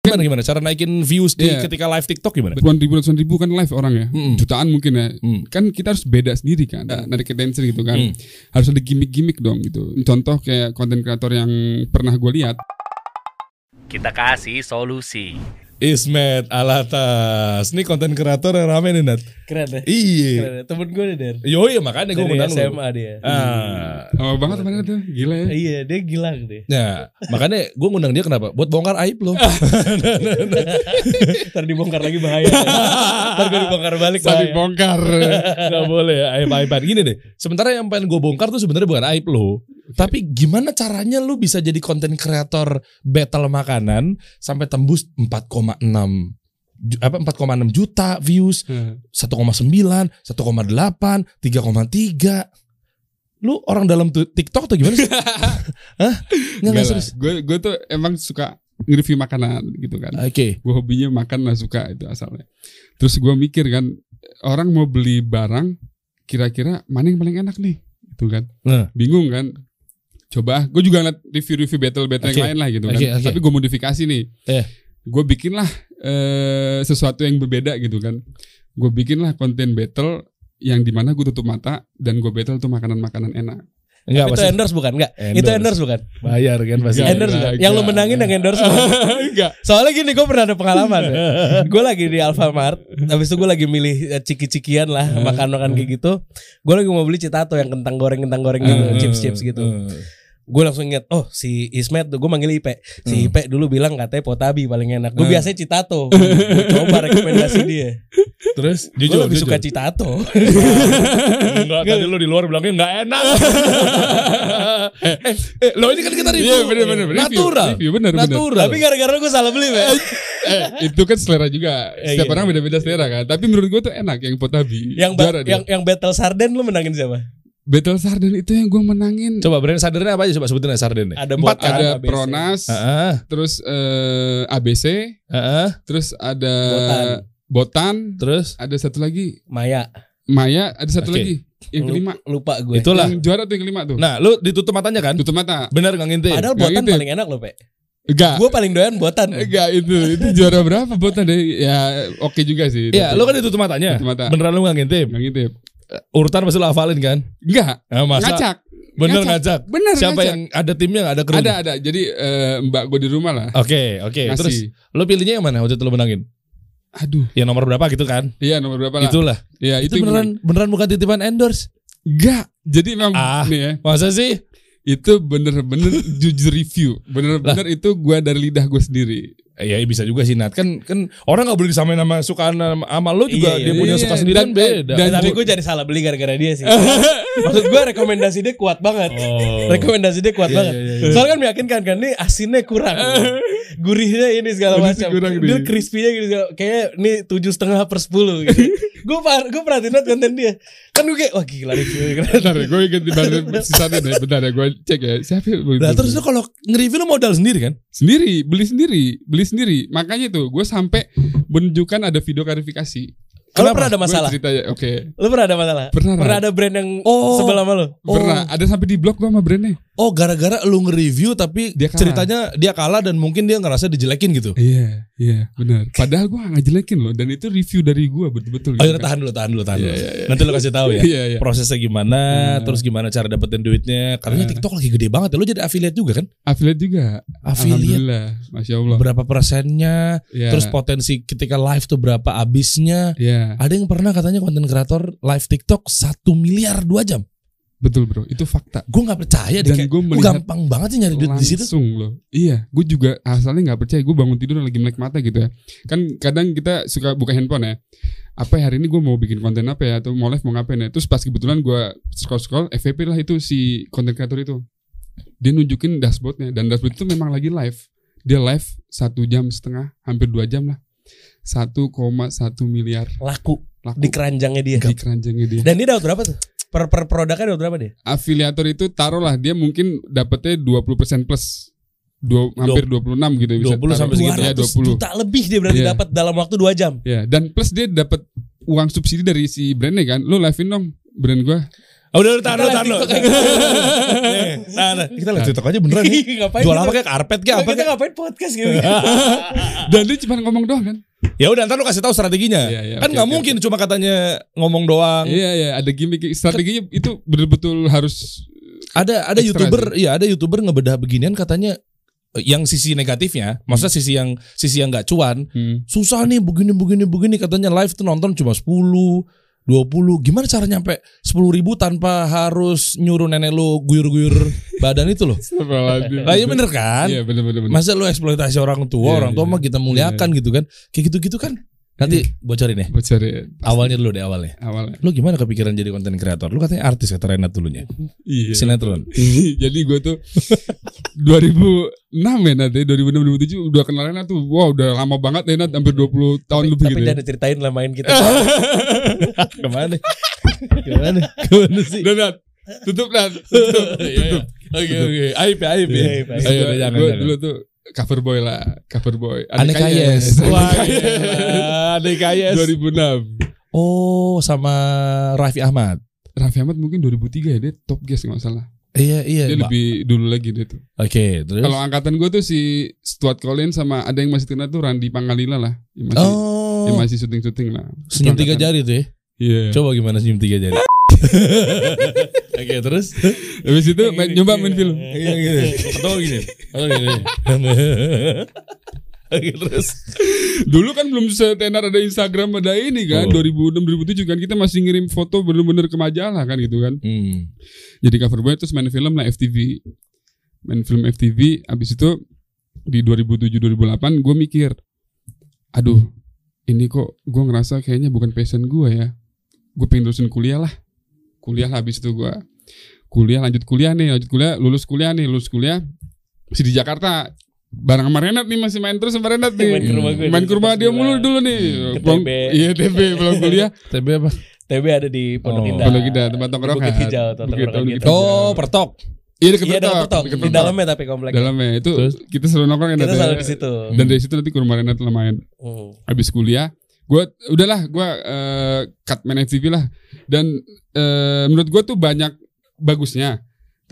Gimana gimana cara naikin views di Iya. ketika live TikTok gimana? Ribuan ribu, ratusan ribu kan live orang ya, Mm-mm. Iya. jutaan mungkin ya. Mm. Kan kita harus beda sendiri kan, narik attention gitu kan. Harus ada gimmick-gimmick dong gitu. Contoh kayak konten kreator yang pernah gue lihat, Kita kasih solusi. Ismet Alatas. Ini konten kreator yang rame nih Nat. Keren deh. Keren Iya. deh. Temen gue nih Der. Yo iya makanya gue Dari ngundang lu. SMA dia. Ah. lama banget temennya tuh, gila ya. Iya, dia gilang deh. Nah, makanya gue ngundang dia kenapa? Buat bongkar aib lo. Ntar dibongkar lagi bahaya. Ntar gue dibongkar balik iya. Sampai bahaya. bongkar. Gak boleh ya, aib aiban gini deh. Sementara yang pengen gue bongkar tuh sebenarnya bukan aib lo, tapi gimana caranya lu bisa jadi konten kreator battle makanan sampai tembus 4,6 ju- apa 4,6 juta views, 1,9, 1,8, 3,3. Lu orang dalam tu- TikTok atau gimana sih? Hah? Nggak, nggak serius. gue gue tuh emang suka nge-review makanan gitu kan. Oke. Gue hobinya makan lah suka itu asalnya. Terus gue mikir kan, orang mau beli barang, kira-kira mana yang paling enak nih, gitu kan. Nah, bingung kan coba gue juga ngeliat review-review battle-battle Oke. yang lain lah gitu Oke, kan oke. tapi gue modifikasi nih Iya. gue bikin lah eh, sesuatu yang berbeda gitu kan gue bikin lah konten battle yang dimana gue tutup mata dan gue battle tuh makanan-makanan enak enggak Itu pasti. endorse bukan? Enggak. Itu Endorse. endorse bukan? Bayar kan pasti. Enggak. Endorse bukan? Yang lu menangin yang endorse bukan? enggak Soalnya gini gue pernah ada pengalaman ya. Gue lagi di Alfamart Habis itu gue lagi milih eh, ciki-cikian lah Makan-makan kayak gitu Gue lagi mau beli citato yang kentang goreng-kentang goreng gitu Chips-chips gitu Gue langsung inget Oh si Ismet tuh Gue manggil Ipe Hmm. Si Ipe dulu bilang katanya potabi paling enak Gue biasanya citato Gua Coba rekomendasi dia Terus Gue jujur lebih jujur. suka citato Enggak, tadi lu di luar bilangnya enggak enak. eh, eh, lo ini kan kita review. iya bener bener bener. Review, Natural. review, bener bener Natural. Tapi gara-gara gue salah beli Pe. eh itu kan selera juga Eh, setiap iya. orang beda-beda selera kan tapi menurut gue tuh enak yang potabi Yang ba- Juara dia. yang, yang battle sarden lu menangin siapa? battle sarden itu yang gue menangin coba brand sardennya apa aja coba sebutin aja sardennya. Ada empat Botan, kan. ada ABC. pronas Heeh, terus eh, abc heeh. terus ada Botan. Botan, Terus ada satu lagi Maya Maya, ada satu Oke. lagi yang Lu- kelima. Lupa gue itulah. Yang juara tuh yang kelima tuh. Nah, lu ditutup matanya kan? Tutup mata. Benar enggak ngintip? Padahal Yang botan itu ya? paling enak loh Pe Enggak. Gue paling doyan botan Enggak itu. Itu juara berapa Botan deh? Ya oke juga sih. Iya, Tapi lu kan ditutup matanya. Tutup mata. Beneran lu enggak ngintip? Yang itu. Urutan pasti lu hafalin kan? Enggak. Nah, masa Ngacak. bener Ngacak. ngajak. Bener Siapa ngacak. yang ada timnya enggak ada kru? Ada ada. Jadi eh, mbak gue di rumah lah. Oke, oke. Ngasih. Terus lu pilihnya yang mana waktu itu lu menangin? Aduh. Ya nomor berapa gitu kan? Iya nomor berapa lah? Itulah. Iya Itu, itu, yang beneran beneran bukan titipan endorse. kelima. Enggak. Jadi memang Ah. nih ya. Masa sih? Itu bener-bener jujur review. Bener-bener itu gue dari lidah gue sendiri. Ya bisa juga sih Nat kan kan orang nggak boleh disamain sama sukaan sama, sama lo juga Iya, dia iya, punya iya. suka sendiri Dan- kan beda. dan- Tapi gue jadi salah beli gara-gara dia sih Maksud gue rekomendasi dia kuat banget Oh. Rekomendasi dia kuat iya, banget Soalnya kan meyakinkan kan Ini asinnya kurang Gurihnya ini segala Gurihnya macam kurang Dia nih. crispy-nya gitu Kayaknya ini tujuh setengah per sepuluh gitu Gue gue perhatiin banget konten dia Kan gue kayak Wah gila review Bentar ya, gue ganti bahan sisanya deh. Bentar ya, gue cek ya. Siapa yang beli Nah itu? terus lo kalau nge-review lo modal sendiri kan? sendiri, beli sendiri, beli sendiri. Makanya tuh, gue sampai menunjukkan ada video klarifikasi. Lo pernah ada Gue masalah? cerita ya, oke. Lo pernah ada masalah? Pernah. Oh. ada brand yang Oh. sebelah sama lo? Pernah, ada sampai di blog gue sama brandnya. Oh gara-gara lo nge-review tapi Dia kalah. ceritanya dia kalah dan mungkin dia ngerasa dijelekin gitu. Iya, iya, benar. Padahal gue gak ngejelekin loh, dan itu review dari gue Oh betul-betul. ya gitu kan. tahan dulu, tahan dulu, tahan dulu. Iya, iya, iya. Nanti lo kasih tahu ya. Iya, iya. Prosesnya gimana, terus gimana cara dapetin duitnya. Karena TikTok lagi gede banget ya. Lo jadi affiliate juga kan? Affiliate juga. Affiliate Alhamdulillah, masya Allah. berapa persennya, Iya. terus potensi ketika live tuh berapa abisnya. Iya, Ada yang pernah katanya konten kreator live TikTok 1 miliar 2 jam. betul bro, itu fakta. Gue nggak percaya deh. Dan Iya, kayak, gue "Lu melihat gampang banget sih nyari duit di situ. langsung loh iya gue juga asalnya nggak percaya gue bangun tidur lagi melek mata gitu ya kan kadang kita suka buka handphone ya apa ya hari ini gue mau bikin konten apa ya atau mau live mau ngapain ya terus pas kebetulan gue scroll scroll FVP lah itu si konten kreator itu dia nunjukin dashboardnya dan dashboard itu memang lagi live dia live satu jam setengah hampir dua jam lah 1,1 miliar Laku laku di keranjangnya dia. di keranjangnya dia Dan dia dapat berapa tuh? Per per produknya dapat berapa dia? afiliator itu taruhlah dia mungkin dapetnya 20% plus Dua, hampir 26 gitu bisa 20 sampai taruh. segitu. ya 20 200 juta lebih dia berarti Iya. dapat dalam waktu 2 jam. ya dan plus dia dapat uang subsidi dari si brandnya kan lu livein dong brand gua Oh, udah, udah, tahan, Kita lo, live tahan, lo. TikTok Nih, Nah, nah, kita lihat TikTok aja beneran nih. ngapain Jual Ya, kita- apa kayak karpet kayak apa kita kayak. ngapain podcast gitu Dan dia cuma ngomong doang kan? Ya udah ntar lu kasih tahu strateginya. Iya, iya, kan oke, nggak oke, mungkin cuma katanya ngomong doang. Iya iya ada gimmick strateginya itu betul-betul harus Ada ada Ekstra youtuber, iya ada youtuber ngebedah beginian katanya eh, yang sisi negatifnya, maksudnya sisi yang sisi yang nggak cuan, hmm, susah nih begini begini begini katanya live tuh nonton cuma 10 20 gimana cara nyampe 10 ribu tanpa harus nyuruh nenek lu guyur-guyur badan itu loh lah iya bener kan Iya bener bener bener. masa lu eksploitasi orang tua Iya, orang tua iya. mah kita muliakan gitu kan kayak gitu-gitu kan nanti bocorin ya Buat cari awalnya dulu deh awalnya awalnya. lu gimana kepikiran jadi konten kreator lu katanya artis kata Renat dulunya Iya. sinetron Jadi gue tuh 2006 ya Nat ya 2006 2007 udah kenal Renat tuh Wow udah lama banget ya Nat Hampir 20 tahun lebih tapi gitu ya. jangan diceritain lah main kita kemana kemana kemana sih Iya, Udah Nat Tutup Nat Iya, Tutup Tutup oke oke aib ya aib ya Iya, aib, aib. ayo udah, jangan Gue jangan. dulu tuh cover boy lah Cover boy Aneka Yes. Wah, iya, Aneka Yes. 2006 Oh, sama Raffi Ahmad. Raffi Ahmad mungkin 2003 ya Dia top guest gak masalah Iya, iya. Dia Mbak. lebih dulu lagi dia tuh Oke, terus. Kalau angkatan gue tuh si Stuart Collins Sama ada yang masih terkenal tuh Randy Pangalila lah Yang masih, yang oh, masih syuting-syuting lah senyum Itu tiga jari angkatan. tuh ya. Iya Coba gimana senyum tiga jari. Oke, terus? Habis itu main, nyoba main film. Iya gitu. Atau gini. Atau gini. Oke, terus. Dulu kan belum setenar ada Instagram ada ini kan Oh. 2006 2007 kan kita masih ngirim foto bener-bener ke majalah kan gitu kan. Hmm. Jadi cover boy terus main film lah FTV. Main film FTV habis itu di 2007 2008 gue mikir aduh ini kok gue ngerasa kayaknya bukan passion gue ya. Gue pengen terusin kuliah lah. Kuliah lah habis itu gue kuliah lanjut kuliah nih lanjut kuliah lulus kuliah nih lulus kuliah masih di Jakarta bareng sama Renat nih masih main terus sama Renat nih main ke rumah gue main ke rumah dia mulu dulu nih Ke Pulang- TB. iya TB pulang kuliah TB apa? TB ada di Pondok Oh, Indah Pondok Indah, tempat tongkrongan. Bukit Hijau atau Bukit- tongkrongan Bukit gitu Hijau. Oh, pertok. iya deket iya ada Retok, Petok deket di Retok. dalamnya tapi komplek dalamnya itu Terus? kita selalu nongkrong Renat kita ya. selalu di situ dan dari situ nanti ke rumah Renat lah main Oh. Hmm. habis kuliah gue udahlah gue eh, cut main FTV lah dan eh, menurut gue tuh banyak bagusnya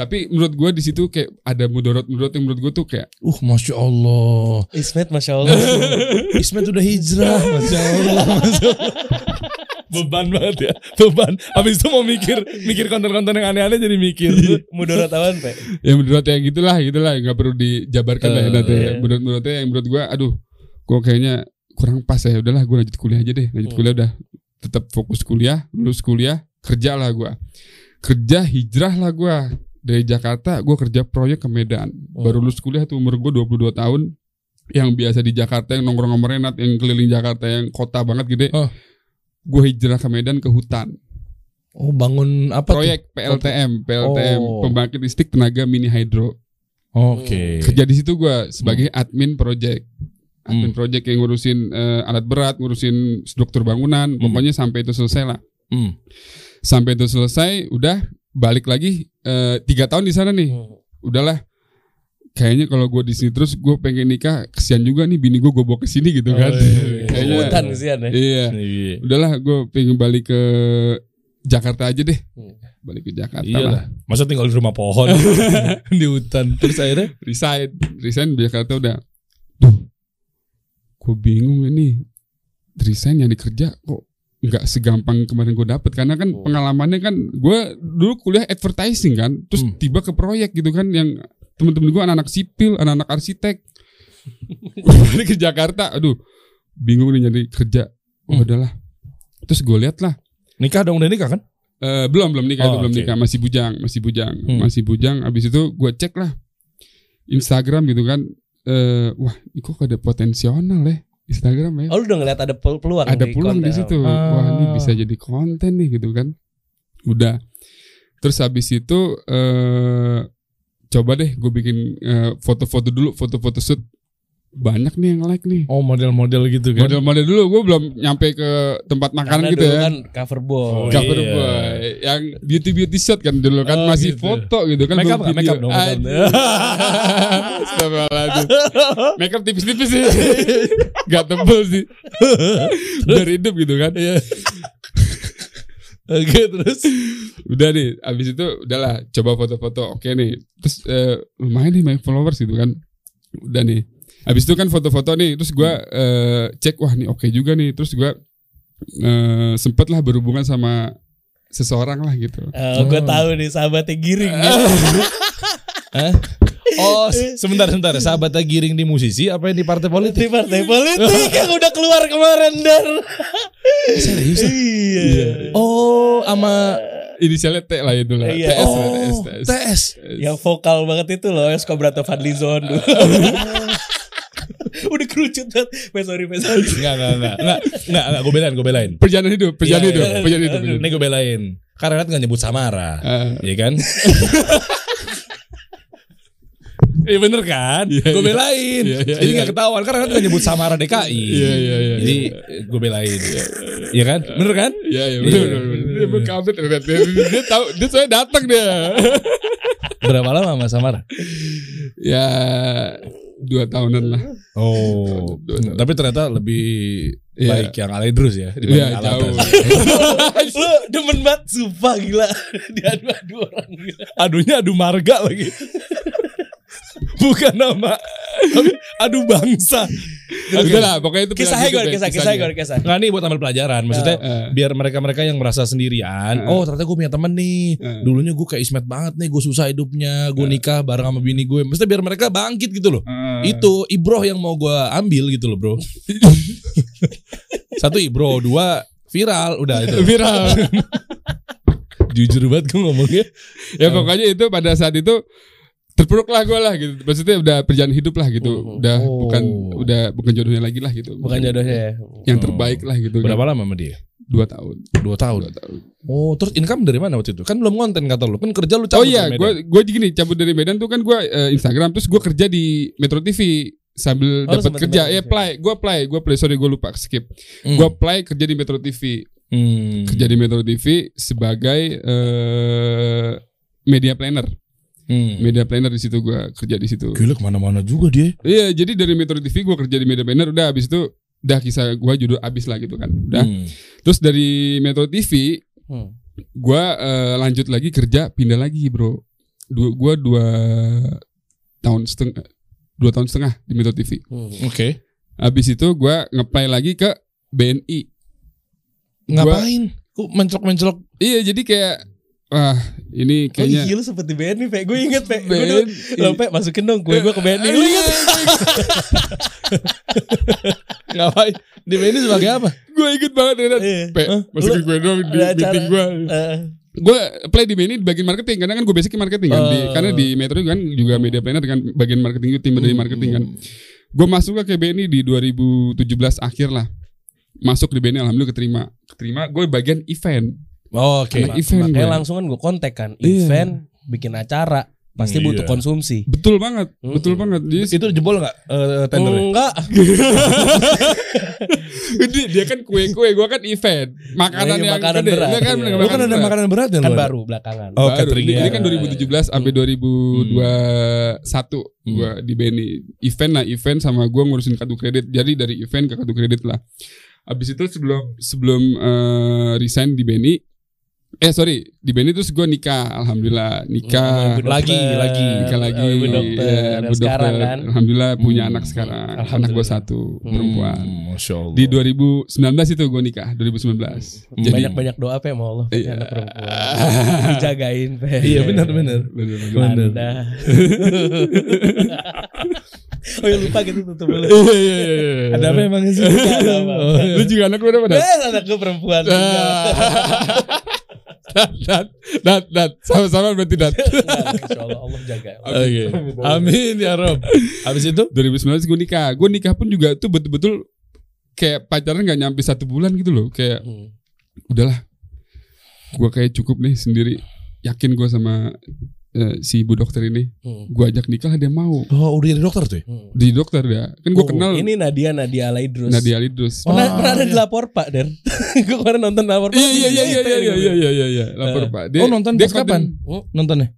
tapi menurut gue di situ kayak ada mudorot mudorot yang menurut gue tuh kayak Uh, masya Allah. Ismet masya Allah Ismet udah hijrah, masya Allah. Masya Allah. beban banget ya, beban. Habis itu mau mikir, mikir konten-konten yang aneh-aneh jadi mikir. mudarat awan pak ya menurut yang gitulah gitulah nggak perlu dijabarkan lah ya Eh, Nat, ya. iya. menurut menurutnya yang menurut gue aduh gue kayaknya kurang pas ya udahlah gue lanjut kuliah aja deh lanjut Hmm. kuliah udah tetap fokus kuliah lulus kuliah kerja lah gue kerja hijrah lah gue dari Jakarta gue kerja proyek ke Medan Hmm. baru lulus kuliah tuh umur gue 22 tahun yang biasa di Jakarta yang nongkrong sama Renat yang keliling Jakarta yang kota banget gede Oh. gue hijrah ke Medan ke hutan Oh bangun apa proyek PLTM PLTM Oh. pembangkit listrik tenaga mini hydro Oke. kerja di situ gue sebagai admin project admin Hmm. project yang ngurusin eh, alat berat ngurusin struktur bangunan pokoknya sampai itu selesai lah Hmm. sampai itu selesai udah balik lagi eh, tiga tahun di sana nih udahlah kayaknya kalau gue di sini terus gue pengen nikah kesian juga nih bini gue gue bawa ke sini gitu kan Kayaknya- iya. hutan kesian ya iya Iya. udahlah gue pengen balik ke Jakarta aja deh Hmm. balik ke Jakarta lah Iyalah. Iya Masa tinggal di rumah pohon di hutan terus akhirnya resign resign di Jakarta udah duh gue bingung ini resign yang dikerja kok nggak segampang kemarin gue dapet karena kan Oh. pengalamannya kan gue dulu kuliah advertising kan terus Hmm. tiba ke proyek gitu kan yang temen-temen gue anak-anak sipil anak-anak arsitek Gua balik ke Jakarta aduh bingung nih nyari kerja oh, Hmm. udahlah terus gue liat lah nikah dong udah nikah kan? Eh, belum belum nikah Oh, itu belum oke. nikah masih bujang masih bujang Hmm. masih bujang abis itu gue cek lah Instagram gitu kan eh wah ini kok ada potensional ya Instagram ya oh lu udah ngeliat ada pel- peluang ada di peluang di konten. situ Oh, Ah. wah ini bisa jadi konten nih gitu kan udah terus abis itu eh coba deh gue bikin eh, foto-foto dulu foto-foto shoot banyak nih yang like nih Oh model-model gitu kan. model-model dulu gue belum nyampe ke tempat makanan karena gitu dulu ya kan cover boy Oh, cover iya. boy eh, yang beauty beauty shot kan dulu kan Oh, masih gitu. foto gitu kan Makeup nggak? belum video. Makeup dong, makeup. Aduh. Astagfirullahaladzim makeup tipis-tipis sih gak tebel sih dari hidup gitu kan Iya. Oke terus udah nih abis itu udahlah coba foto-foto oke nih terus eh, lumayan nih banyak followers gitu kan udah nih abis itu kan foto-foto nih terus gua eh, cek wah nih oke juga nih terus gua eh, sempet lah berhubungan sama seseorang lah gitu Eh, Gue tahu nih sahabatnya giring. ya. Hah? Oh se- sebentar sebentar Sahabatnya giring di musisi Apa yang di partai politik Di partai politik yang udah keluar kemarin dan Serius iya. Oh sama inisialnya T lah itu lah Iya. TS, lah, Oh TS, TS. TS Yang vokal banget itu loh, yang suka berantem Fadlizon dulu. udah kerucut banget. Mas, sorry, mas, sorry. Enggak enggak enggak Enggak enggak, enggak gue belain gue belain perjalanan hidup perjalanan Iya, hidup iya. perjalanan hidup, perjalanan Ini gue belain Karena Renat gak nyebut Samara Eh. Iya kan Iya bener kan Iya, Gue iya. belain Iya, iya, Jadi iya. gak ketahuan Karena Renat gak nyebut Samara DKI Iya, iya, iya. Jadi gue belain Iya kan Bener kan Iya iya benar benar. benar. Dia berkabut dia, dia, dia tahu dia soalnya datang dia. Berapa lama sama Samara ya dua tahunan lah. Oh, tapi ternyata lebih Iya. baik yang Aledrus ya dibanding Iya Alatas. jauh. Iya. Lu demen banget, sumpah gila. Diadu-adu orang gila. Adunya adu marga lagi. Bukan nama, tapi adu bangsa. Udah lah pokoknya itu Kisahnya gue, pilihan hidup ya, kisah, kisah gue, kisah. Nggak nih buat ambil pelajaran. Maksudnya Eh. biar mereka-mereka yang merasa sendirian. Eh. Oh ternyata gue punya temen nih. Eh. Dulunya gue kayak ismet banget nih. Gue susah hidupnya. Gue nikah bareng sama bini gue. Maksudnya biar mereka bangkit gitu loh. Eh. Itu ibroh yang mau gue ambil gitu loh bro. Satu ibroh, dua viral. Udah itu. viral. Jujur banget gue ngomongnya. ya pokoknya itu pada saat itu terpuruk lah gue lah gitu. Maksudnya udah perjalanan hidup lah gitu. Udah Oh. bukan udah bukan jodohnya lagi lah gitu. Bukan jodohnya ya. Yang terbaik lah gitu. Berapa lama sama dia? Dua tahun. Dua Dua tahun. tahun. Oh, terus income dari mana waktu itu? Kan belum konten kata lu. Kan kerja lu Oh cabut iya, dari Medan. gue gue gini cabut dari Medan tuh kan gue eh, Instagram terus gue kerja di Metro TV sambil Oh, lu dapat sempet kerja Metro ya TV. apply gue apply gue apply sorry gue lupa skip Hmm. gue apply kerja di Metro TV Hmm. kerja di Metro TV sebagai eh, media planner Hmm. media planner di situ gue kerja di situ Gila kemana-mana juga dia. iya jadi dari Metro TV gue kerja di media planner udah habis itu udah kisah gue judul abis lah gitu kan udah Hmm. terus dari Metro TV Hmm. gue eh, lanjut lagi kerja pindah lagi bro dua gue dua tahun setengah dua tahun setengah di Metro TV Oke. habis itu gue ngeplay lagi ke BNI Ngapain? Kok mencelok-mencelok? iya jadi kayak wah ini Oh kayaknya Iya. iya lu seperti BNI Pe Gue inget Pe Gue BNI. dulu Lo Pe masukin dong kue gue ke BNI Lu inget Iya. Ngapain? Di ini sebagai apa? gue inget banget Renat Iya. Pe, masukin gue doang di ada acara. meeting gue Eh, gue play di BNI di bagian marketing karena kan gue basicnya marketing kan di, Oh. Eh. karena di Metro kan juga media planner kan bagian marketing itu tim dari Hmm, marketing kan gue masuk ke BNI di 2017 akhir lah masuk di BNI alhamdulillah keterima keterima gue bagian event Oke. Anak event Oh, Makanya gue. langsung kan gue kontak kan Iya. Event Bikin acara Pasti Iya. butuh konsumsi betul banget Hmm. betul banget Jadi Itu jebol enggak eh Oh, tendernya? Enggak dia, dia kan kue kue gue kan event makanan Iya, yang makanan gede. berat, Dia kan iya. makanan Lu kan ada berat. makanan berat ya Kan lu? baru belakangan Oh, Baru. catering. Iya. Ini kan 2017 sampai 2021 Hmm. gua di BNI event lah event sama gua ngurusin kartu kredit. Jadi dari event ke kartu kredit lah. Habis itu sebelum sebelum eh, resign di BNI eh sorry di BNI terus gua nikah alhamdulillah nikah Lagi, lagi. nikah lagi Oh, Ibu Iya, dokter Dan Bu dokter. sekarang kan alhamdulillah punya Hmm. anak sekarang anak gua Alhamdulillah. satu Hmm. perempuan Hmm, Masya Allah. di 2019 itu gua nikah 2019 Jadi- Banyak-banyak doa Pe Mau Allah punya Iya. anak perempuan Dijagain Pe Iya benar-benar. Bener-bener. Anda Oh ya lupa gitu tutup dulu Iya, iya, iya, iya. Ada apa emangnya sih? ada apa-apa. Oh, iya. Lu juga anak lu ada apa? Dat? Eh anak gue perempuan Ah. dat, dat, dat, dat. Sama-sama berarti dat. Insya Allah Allah jaga Oke. Amin ya Rob. Habis itu 2019 gue nikah. Gue nikah pun juga tuh betul-betul kayak pacaran gak nyampe satu bulan gitu loh. Kayak Hmm. udahlah. Gue kayak cukup nih sendiri. Yakin gue sama eh, si ibu dokter ini. Hmm. Gue ajak nikah dia mau. Oh, udah jadi dokter tuh ya? Hmm. Di dokter ya. Kan gue Oh, kenal Ini Nadia Nadia Alaidrus. Nadia Lidrus. Pernah, Oh, pernah ada iya. di lapor Pak Der. gue kemarin nonton lapor Pak. Iya iya iya iya Cerita iya gitu. iya iya iya iya. Lapor Pak. Dia, oh nonton dia pas kapan? konten- Nontonnya?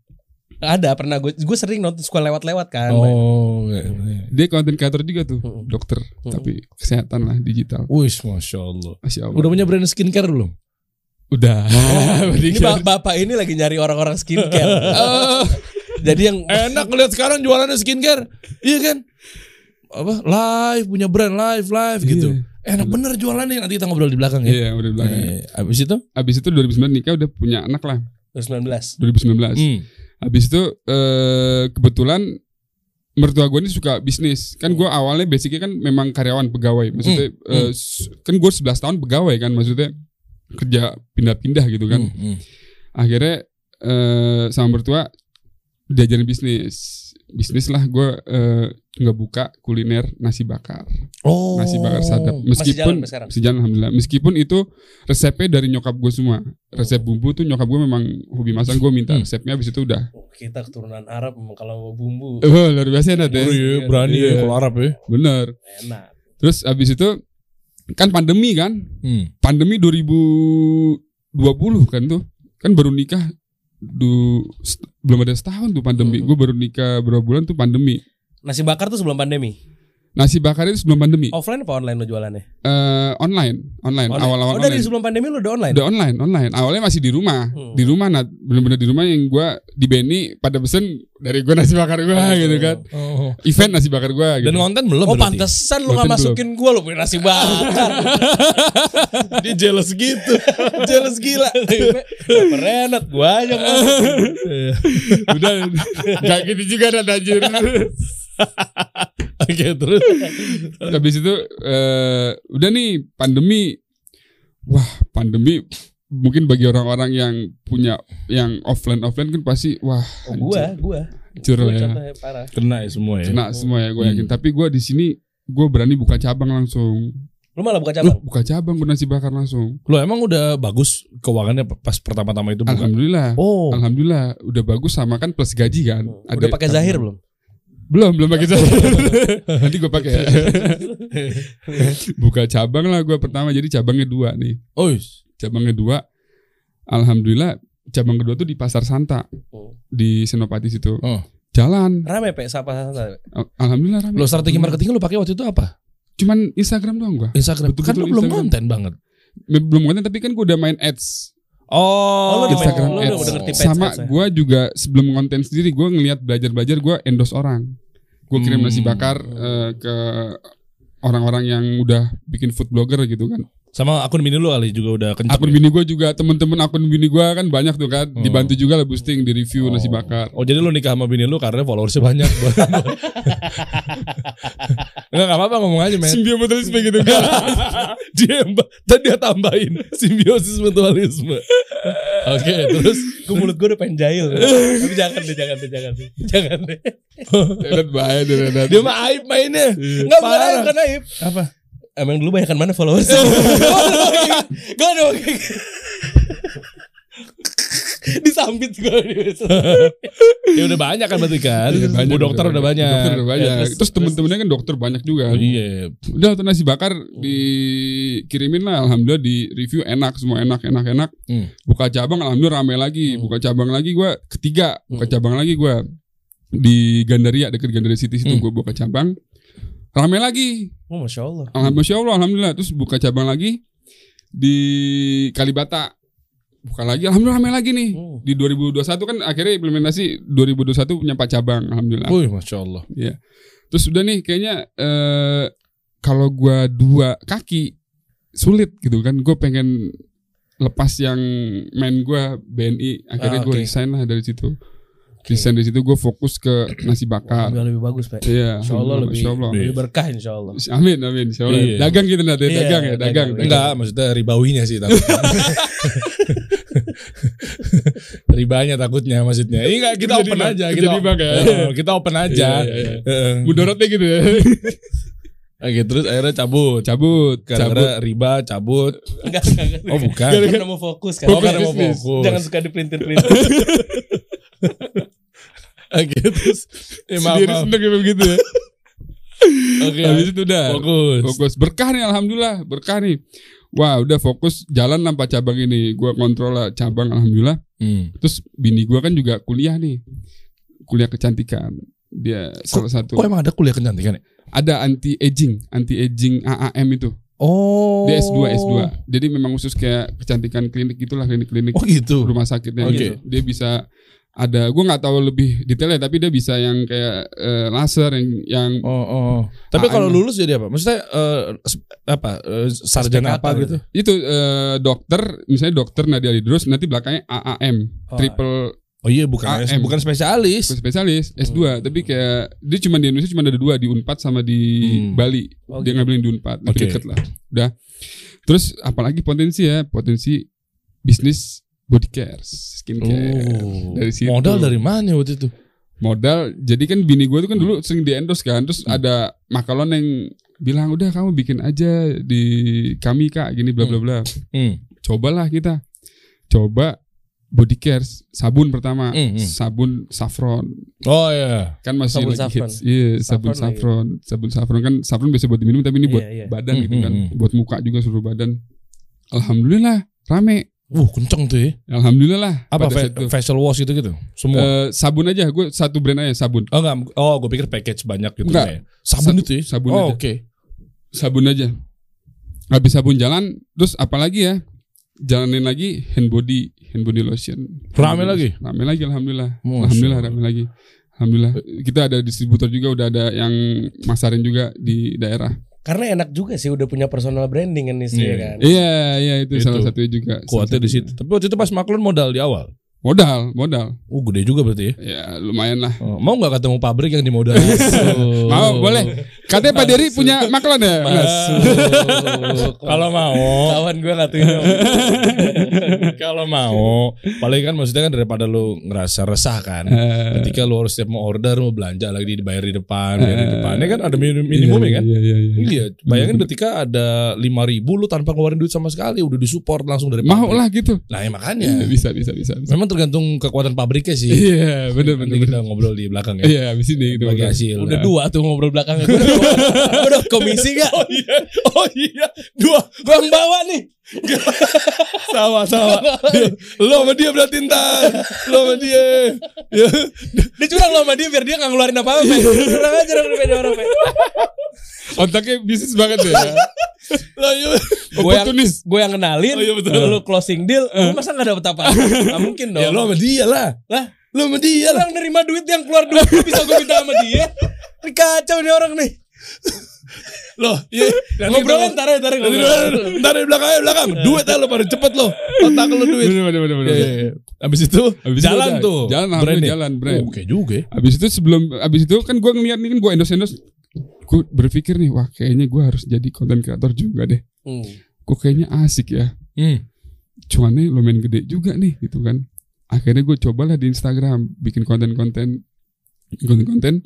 Ada pernah gue gue sering nonton suka lewat-lewat kan. Oh, Dia konten kreator juga tuh, Mm-mm. dokter. Tapi kesehatan lah digital. wis masya Allah. Masya Allah. Udah punya brand skincare belum? Udah. Ini ba- bapak ini lagi nyari orang-orang skincare. Eh, Jadi yang enak ngeliat sekarang jualannya skincare. Iya kan? Apa? Live punya brand live live gitu. Enak bener jualannya nanti kita ngobrol di belakang ya. Iya, udah belakang. Eh, Abis itu? Abis itu 2009 nikah udah punya anak lah. 2019. 2019. Hmm. Habis itu eh, kebetulan mertua gue ini suka bisnis. Kan gue awalnya basicnya kan memang karyawan pegawai. Maksudnya eh, s- kan gue 11 tahun pegawai kan maksudnya kerja pindah-pindah gitu kan. Hmm, hmm. Akhirnya eh, sama mertua diajarin bisnis. Bisnis lah gue eh, nggak buka kuliner nasi bakar. Oh. Nasi bakar sadap. Masih jalan Meskipun sampai sekarang. masih jalan alhamdulillah. Meskipun itu resepnya dari nyokap gue semua. Resep bumbu tuh nyokap gue memang hobi masak. Gue minta Hmm. resepnya habis itu udah. Oh, Kita keturunan Arab memang kalau bumbu Wah, luar biasa enak deh. Oh iya, berani ya Iya. kalau Arab ya. Bener. enak. Terus abis itu kan pandemi kan, Hmm. pandemi 2020 kan tuh, kan baru nikah, du, st- belum ada setahun tuh pandemi. Hmm. Gue baru nikah berapa bulan tuh pandemi. Nasi bakar tuh sebelum pandemi. Nasi bakar itu sebelum pandemi. Offline apa online lo jualannya? Eh, online, online, Oh. Online. awal-awal Oh, dari online. sebelum pandemi lo udah online. Udah online, online. Awalnya masih di rumah, Hmm. di rumah, nah bener-bener di rumah yang gue di Beni pada pesen dari gue nasi bakar gue gitu kan, Oh. event nasi bakar gue. Gitu. Dan konten belum Oh berarti. pantesan lo gak Konten masukin gue lo punya nasi bakar Dia jealous gitu. Jelas gila Kenapa Renat gue aja masuk. Iya. udah gak gitu juga dan anjir Oke, terus. habis itu eh, udah nih pandemi wah pandemi mungkin bagi orang-orang yang punya yang offline offline kan pasti wah Oh, Gue Gue hancur Gue ya contohnya parah Kena ya semua ya. kena semua ya gue yakin Hmm. tapi gue di sini gue berani buka cabang langsung Lo malah buka Loh, cabang buka cabang gue nasi bakar langsung Lo emang udah bagus keuangannya pas pertama-tama itu bukan? alhamdulillah Oh. alhamdulillah udah bagus sama kan plus gaji kan Udah Ada- pakai Zahir belum? belum belum pakai Zahir nanti gue pakai buka cabang lah gue pertama jadi cabangnya dua nih Oh. cabang kedua alhamdulillah cabang kedua tuh di pasar Santa Oh. di Senopati situ Oh. jalan Rame pe Sapa Santa Al- alhamdulillah rame. Lo strategi marketing lo pakai waktu itu apa? cuman Instagram doang gua Instagram. Betul-betul kan lo belum Instagram. konten banget. Me- belum konten tapi kan gua udah main ads Oh, lo udah main- Instagram lo udah- ads udah ngerti ads, sama ads ya? gua juga sebelum konten sendiri gua ngelihat belajar belajar gua endorse orang gua kirim Hmm. nasi bakar eh, ke orang-orang yang udah bikin food blogger gitu kan Sama akun mini lo kali juga udah kencang. akun ya? bini gua juga temen-temen akun bini gua kan banyak tuh kan Hmm. dibantu juga lah boosting di review nasi bakar Oh jadi lu nikah sama bini lu karena followersnya banyak Enggak apa-apa ngomong aja men Simbiomutualisme gitu kan dia tadi dia tambahin simbiosis mutualisme. Oke, terus Gue mulut gue udah pengen jahil Tapi jangan deh Jangan deh Jangan deh Jangan deh Renat bahaya deh Renat. dia mah aib mainnya. kan? Enggak Iya. bukan Parah. aib Bukan aib Apa? Emang dulu banyak kan mana followers? Gue ada pakai Disambit gue Ya udah banyak kan berarti kan. Iya, banyak. Bu dokter udah banyak. Dokter udah banyak. Ya, terus temen-temennya kan dokter banyak juga. terus- Iya. Udah tuh nasi bakar Oh. dikirimin lah alhamdulillah di review enak semua enak enak enak. Hmm. Buka cabang alhamdulillah rame lagi. Hmm. Buka cabang lagi gua ketiga. Buka Hmm. cabang lagi gua di Gandaria dekat Gandaria City situ Hmm. gua buka cabang. Rame lagi. Oh Masya Allah Alhamdulillah Masya Allah, alhamdulillah terus buka cabang lagi di Kalibata. Buka lagi alhamdulillah rame lagi nih. Hmm. Di 2021 kan akhirnya implementasi 2021 punya 4 cabang alhamdulillah. Wih, masya Allah. Terus udah nih kayaknya eh kalau gua dua kaki sulit gitu kan. Gue pengen lepas yang main gua BNI. Akhirnya Ah, gue oke. resign lah dari situ. Resign dari situ gue fokus ke nasi bakar. Udah lebih bagus Pak Iya. Insya Allah lebih, Insya Allah. lebih berkah Insya Allah Amin amin. Insya Allah. Iya. Dagang gitu nanti. Iya, Dagang ya. dagang, Dagang. dagang. dagang. Enggak, maksudnya ribawinya sih takut. Ribanya takutnya maksudnya. Iya enggak, kita Jadi open bang, aja jadi kita. bang ya. Oh, kita open aja. Iya, iya, Heeh. Mudorotnya gitu ya. Oke, terus akhirnya cabut. cabut. Cabut. Karena riba cabut. Enggak enggak, enggak. Oh, bukan. Karena mau fokus kan Oh, karena mau bisnis. fokus. Jangan suka dipelintir-pelintir Oke, terus eh, maaf, Sendiri maaf. seneng ya begitu ya. Oke. Habis itu udah. Fokus. fokus berkah nih alhamdulillah berkah nih wah udah fokus jalan tanpa cabang ini gua kontrol lah cabang alhamdulillah Hmm. terus bini gua kan juga kuliah nih kuliah kecantikan dia salah satu Kok emang ada kuliah kecantikan ya? ada anti aging anti aging AAM itu Oh. Dia S2, S2. Jadi memang khusus kayak kecantikan klinik gitulah, klinik-klinik Oh gitu. rumah sakitnya Oke. gitu. Dia bisa ada gue nggak tahu lebih detailnya tapi dia bisa yang kayak eh, laser yang yang Oh, oh. Tapi Ah, kalau emang. lulus jadi apa? Maksudnya eh, s- apa? eh, sarjana Spektator apa gitu? itu eh, dokter misalnya dokter Nadia Lidrus nanti belakangnya AAM Oh, triple Oh iya, bukan AM. bukan spesialis. spesialis S2 tapi kayak dia cuma di Indonesia cuma ada dua di Unpad sama di Hmm. Bali Oh, dia gitu. ngambilin di Unpad Oke. lebih deket lah udah terus apalagi potensi ya potensi bisnis body care skincare Oh. Dari situ. Modal dari Hmm. mana waktu itu? modal jadi kan bini gue tuh kan dulu sering di endorse kan terus Hmm. ada makalon yang bilang udah kamu bikin aja di kami kak gini bla bla bla Hmm. cobalah kita coba body care sabun pertama Hmm, hmm. sabun saffron Oh iya. kan masih Sabun lagi saffron. hits iya sabun Saffron lagi. saffron sabun saffron kan saffron biasa buat diminum tapi ini buat Iya, iya. badan gitu Hmm, kan hmm, buat muka juga seluruh badan alhamdulillah rame Wuh, kenceng tuh ya. alhamdulillah lah Apa pada fa- saat itu. facial wash gitu gitu? Semua. Eh, sabun aja gue satu brand aja sabun oh enggak, oh gue pikir package banyak gitu kayak. Enggak. Sabun Sab- itu ya. sabun Oh, aja. oke. sabun aja habis sabun jalan terus apalagi ya jalanin lagi hand body hand body lotion Rame lagi? rame lagi Masya alhamdulillah alhamdulillah Allah. rame lagi alhamdulillah kita ada distributor juga udah ada yang masarin juga di daerah Karena enak juga sih udah punya personal branding kan istrinya Iya. kan. iya iya itu, Itu. salah satunya juga Kuatnya Salah di satunya. situ. Tapi waktu itu pas maklun modal di awal. modal modal Oh, gede juga berarti ya. ya lumayan lah Oh, mau nggak ketemu pabrik yang dimodalin? Oh. mau boleh katanya Pak Dery punya maklon ya Mas? Masuk. Kalau mau, kawan gue ngatuin dong. kalau mau, paling kan maksudnya kan daripada lu ngerasa resah kan. Eh, Ketika lu harus setiap mau order, mau belanja lagi dibayar di depan, bayar di depannya kan ada minim- minimumnya Eh, iya, kan. iya, iya, iya. Iya, bayangin ketika ada 5000 lu tanpa ngeluarin duit sama sekali udah disupport langsung dari pabrik. mau lah gitu Nah, ya makanya. bisa bisa bisa, bisa. Memang tergantung kekuatan pabriknya sih. iya benar Nanti benar benar. kita ngobrol di belakang ya. iya abis ini gitu Bagi hasil. ya. Udah dua tuh ngobrol belakangnya. Gue udah, gua udah komisi gak? Oh iya, oh iya, dua Gue yang bawa nih. sama sama. Lo sama dia berarti ntar, lo sama dia. Ya. Iya. Dia curang loh sama dia biar dia gak ngeluarin apa-apa. Pe. Curang aja dong beda orang. Otaknya bisnis banget ya. Lah, iya. Gue yang Oportunis. gue yang kenalin, Oh iya, betul. lu closing deal, lu masa gak dapet apa? Gak mungkin dong. Ya lo sama dia lah. lah, Lo sama dia Iya lah. orang nerima duit yang keluar duit bisa gue minta sama dia. Ini kacau nih orang nih. Lo, iya. Nanti Ngobrol kita- ntar ya, ntar ya nanti- ngobrol. Ntar di belakang, di belakang. Duit aja lo pada cepet lo. Otak lo duit. Bener bener bener Iya, bener. iya, iya. Abis itu Abis itu jalan udah, tuh. jalan, alhamdulillah brandnya. jalan, brand. Oh, Oke juga. ya. Abis itu sebelum abis itu kan gue ngeliat nih kan gue endorse endorse. Gue berpikir nih wah kayaknya gue harus jadi konten kreator juga deh. Hmm. Gue kayaknya asik ya. Hmm. Cuannya lumayan gede juga nih gitu kan. Akhirnya gue cobalah di Instagram bikin konten-konten konten-konten.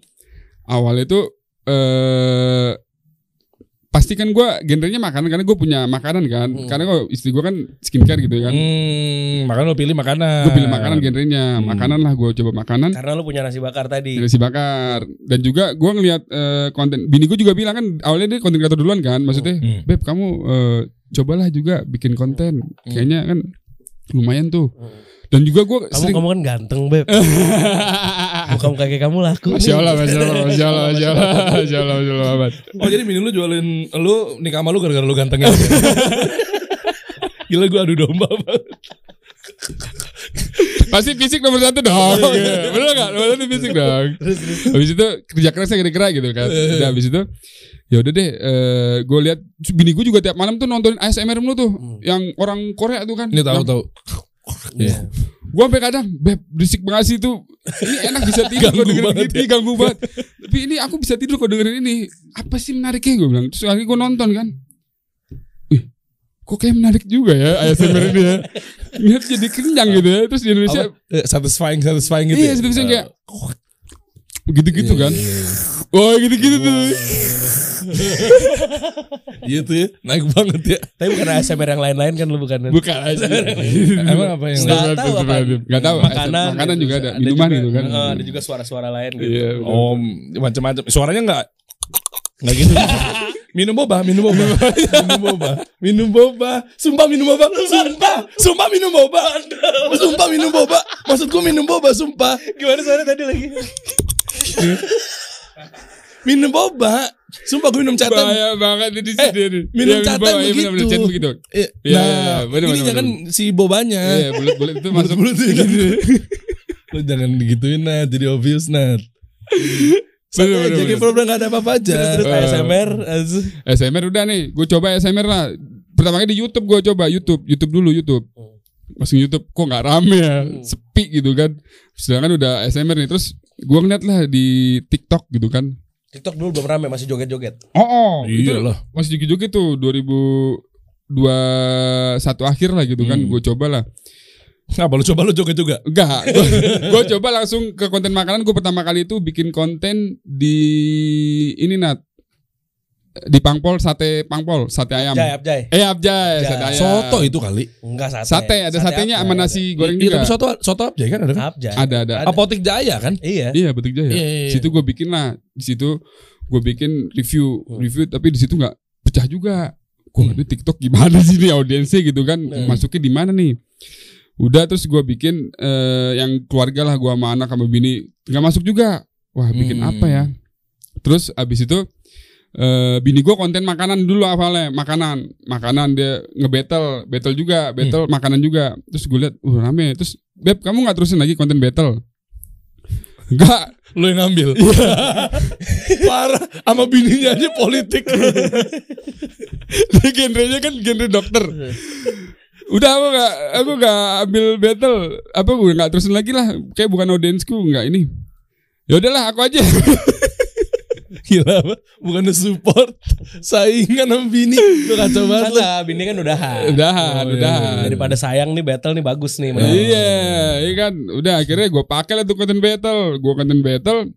Awalnya tuh eh pasti kan gue genrenya makanan karena gue punya makanan kan. Hmm. Iya. Karena kalau istri gue kan skincare gitu kan. Hmm, makanya lo pilih makanan. Gue pilih makanan genrenya, Hmm. makanan lah gue coba makanan. Karena lu punya nasi bakar tadi. Nasi bakar dan juga gue ngelihat eh, konten bini gue juga bilang kan awalnya dia konten kreator duluan kan maksudnya Hmm. beb kamu eh, cobalah juga bikin konten Hmm. kayaknya kan lumayan tuh dan juga gue Kamu sering gitu. kamu kan ganteng, Beb. Eh. Bukan kakek kamu laku. masya allah masya allah masya allah masya allah masya allah masya allah Ahmad. Oh jadi mini lu jualin lu nikah sama lu gara-gara lu gantengnya. Gila gue adu domba banget. pasti fisik nomor satu dong Iya. bener nggak nomor satu fisik dong habis itu kerja kerasnya kira-kira gitu kan Iya. udah habis itu ya udah deh gue lihat bini gue juga tiap malam tuh nontonin ASMR mulu tuh yang orang Korea tuh kan Hmm. Ini tahu Yang- tahu. Iya. Gue sampai kadang beb berisik banget sih itu. Ini enak bisa tidur Ganggu kalau dengerin banget ya." ini ganggu banget. Tapi ini aku bisa tidur kalau dengerin ini. Apa sih menariknya gue bilang. Terus akhirnya gue nonton kan. Wih, kok kayak menarik juga ya ASMR ini ya. Ngeliat jadi kenyang gitu ya. Terus di Indonesia Apa? Eh, Satisfying satisfying gitu. iya ya? gitu Eh, kayak gitu-gitu kan. Iya, iya, Wah, gitu-gitu tuh. Iya tuh ya, naik banget ya. Tapi bukan ASMR yang lain-lain kan lu bukan. Bukan aja. Emang apa yang Nggak tahu apa. Gak tahu. Makanan, makanan gitu. juga ada, minuman juga- gitu ya. kan. eh, ada juga suara-suara lain gitu. Iya. Oh, macam-macam. Suaranya enggak enggak gitu. minum boba, minum boba. minum boba. Minum boba. Sumpah minum boba. Sumpah. Sumpah minum boba. Sumpah minum boba. Maksudku minum boba, sumpah. Gimana suara tadi lagi? Minum boba. Sumpah gue minum catam. Bahaya banget ini di sini. nih. Eh, minum Iya, catam bawah, iya, begitu. benar-benar, cat begitu. Eh, Iya, nah, iya, iya. Bener, ininya bener, kan si bobanya. Iya, bulat-bulat itu masuk Mulut-mulut itu kan. Lu jangan digituin Nat, jadi obvious Nat. Eh, Bener, bener, jadi bener. problem gak ada apa-apa aja. Terus Eh. ASMR as- SMR udah nih, gue coba SMR lah. Pertama kali di YouTube gue coba YouTube, YouTube dulu YouTube. Oh. Masuk YouTube kok nggak rame ya, Hmm. sepi gitu kan. Sedangkan udah SMR nih, terus gue ngeliat lah di TikTok gitu kan. TikTok dulu belum rame masih joget-joget. Oh, oh itu Iyalah. masih joget-joget tuh 2021 akhir lah gitu kan. Hmm. Gue coba lah. Kenapa lu coba lu joget juga? Enggak, gue coba langsung ke konten makanan. Gue pertama kali itu bikin konten di ini nat di pangpol sate pangpol sate ayam. Jai, Abjay. Eh abjay, Abjay. sate ayam. Soto itu kali. Enggak sate. Sate, ya? ada satenya Abjay, sama ada. nasi goreng Iya, juga. tapi soto soto abjay kan ada kan? Abjay. Ada, ada. Apa? Apotek Jaya kan? Iya. Iya, betul jaya. Iya, iya, iya. Situ gue bikin lah, di situ gue bikin review, review tapi di situ nggak pecah juga. Iya. Gue nggak tahu TikTok gimana sih nih audiensnya gitu kan? Hmm. Masuknya di mana nih? Udah terus gue bikin eh, yang keluarga lah gue sama anak sama bini nggak masuk juga. Wah bikin Hmm. apa ya? Terus abis itu eh bini gue konten makanan dulu awalnya makanan makanan dia ngebattle battle juga Hmm. battle makanan juga terus gue liat uh rame terus beb kamu nggak terusin lagi konten battle Enggak Lu yang ngambil. Parah sama bininya aja politik. genrenya kan genre dokter Iya. udah aku nggak aku nggak ambil battle apa gue nggak terusin lagi lah kayak bukan audiensku nggak ini ya udahlah aku aja Gila apa? Bukan support saingan sama bini. Lu kacau banget lu. Kata bini kan udahan. udahan iya, udahan Daripada sayang nih battle nih bagus nih. menang. Iya, iya kan. Udah akhirnya gue pakai lah tuh konten battle. Gue konten battle.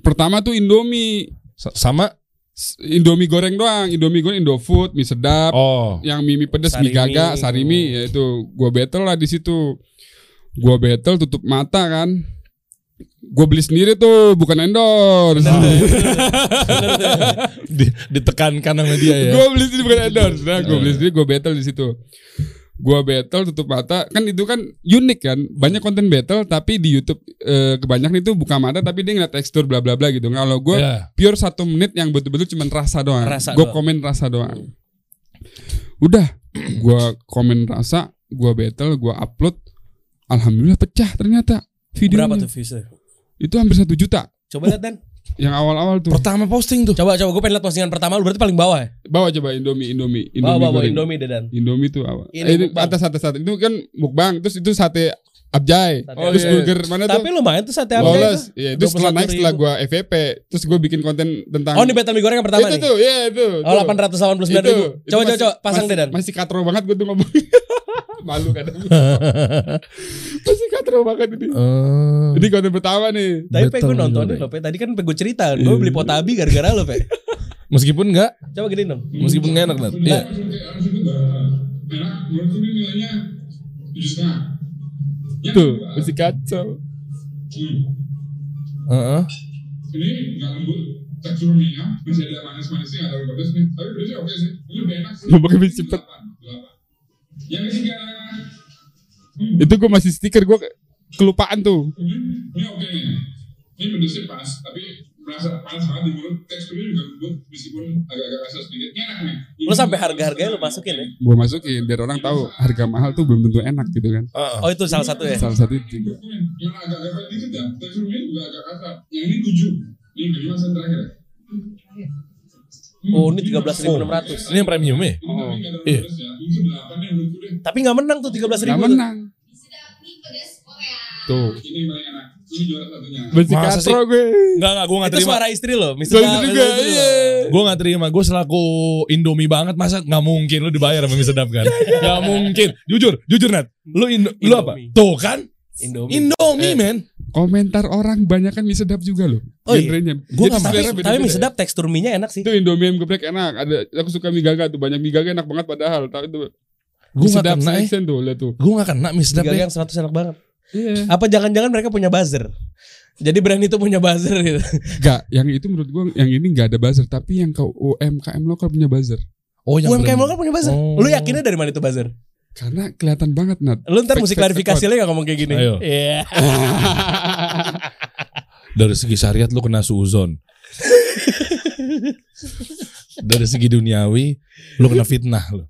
Pertama tuh Indomie, S- Sama S- Indomie goreng doang, Indomie goreng, Indofood, mie sedap, oh. yang mie, mie pedes, mie Sarimi. gaga, sarimi, ya itu gue battle lah di situ. Gue battle tutup mata kan. Gue beli sendiri tuh, bukan endorse. Di- ditekankan sama dia ya. Iya. gue beli sendiri bukan endorse. Nah, gue beli sendiri, gue battle di situ. Gue battle tutup mata, kan itu kan unik kan, banyak konten battle tapi di YouTube eh, kebanyakan itu buka mata tapi dia ngeliat tekstur bla bla bla gitu. Kalau gue Iya. pure satu menit yang betul-betul cuman rasa doang. Rasa gue doang. komen rasa doang. Udah, gue komen rasa, gue battle, gue upload. Alhamdulillah pecah ternyata videonya. Berapa tuh viewsnya? Itu hampir satu juta Coba lihat Dan. yang awal-awal tuh. Pertama posting tuh. Coba coba gue pengen lihat postingan pertama lu berarti paling bawah ya. Bawa coba Indomie, Indomie, Bawa Indomie. bawa bawa goreng. Indomie deh Dan. Indomie tuh awal. Ini eh, itu mukbang. atas atas atas itu kan mukbang terus itu sate abjay. Sate terus abjay. burger mana Tapi tuh? lumayan tuh sate Abjay Lolos. tuh. Iya, itu setelah naik 21.000. setelah gua FVP, terus gua bikin konten tentang Oh ini battle mie goreng yang pertama Itu nih. tuh, iya itu. Oh delapan ratus delapan puluh sembilan ribu. Coba coba coba pasang masih, deh Dan. Masih katro banget gua tuh ngomong. Malu kadang. masih katro banget ini. Oh. Eh, Ini konten pertama nih. Tapi Battle pe mie gue nontonin goreng. loh pe. Tadi kan pe gue cerita gue Iya. beli potabi gara-gara lo pe. meskipun enggak, Coba gini dong. meskipun enggak enak Nat. Iya. Tuh, masih kacau. Heeh. Hmm. ini nggak lembut tekstur minyak masih ada manis-manisnya ada pedas nih tapi pedasnya oke sih ini lebih enak sih Ngomongnya lebih cepet. Delapan, delapan. yang ketiga hmm. Itu gua masih stiker gua kelupaan tuh. ini ini oke nih ini pedasnya pas tapi merasa panas banget di mulut teksturnya juga lembut meskipun agak-agak kasar sedikit Ini enak nih Ini Lo sampai harga-harganya lo masukin ya. Gua masukin biar orang tahu harga mahal tuh belum tentu enak gitu kan. Oh itu salah satu ya. Salah satu itu. juga. Dokumen, yang agak-agak kasar dikit dah tekstur minyak juga agak kasar yang ini tujuh ini yang kelima sen terakhir ya. Oh ini tiga belas ribu enam ratus. Ini yang premium ya? Oh. ini tapi nggak ada Iya. pedas ya itu delapan yang menurutku deh Tapi nggak menang tuh tiga belas Gak ribu. menang. Tuh. ini yang paling enak ini juara satunya Masih Masa sih? katro gue. Enggak enggak gue enggak Itu terima. suara istri lo. Mr. Soalnya Bang, juga, itu lo. iya. Gue gak terima, gue selaku Indomie banget Masa gak mungkin lu dibayar sama mie sedap kan Gak mungkin, jujur, jujur Nat Lu, Indo- lu apa? Indomie. Tuh kan Indomie. Indomie Eh, men Komentar orang banyak kan mie sedap juga loh. Oh iya. Genrenya. Gua Jadi nggak tapi, selera tapi beda-beda. mie sedap tekstur mie-nya enak sih. Itu Indomie ayam geprek enak. Ada aku suka mie gaga tuh banyak mie gaga enak banget padahal. Tapi Gue itu mie gak sedap kena ya Sexen tuh lihat tuh. Gue gak kena mie sedap Tiga ya yang 100 enak banget. Iya. Apa jangan-jangan mereka punya buzzer? Jadi brand itu punya buzzer gitu. Enggak, yang itu menurut gua yang ini enggak ada buzzer, tapi yang ke UMKM lokal punya buzzer. Oh UMKM premium. lo kan punya buzzer. Oh. Lu yakinnya dari mana itu buzzer? Karena kelihatan banget Nat. Lu ntar Fake, mesti fake klarifikasi lagi gak ngomong kayak gini. Ayo. Iya. Dari segi syariat lu kena suzon Dari segi duniawi, lu kena fitnah lu.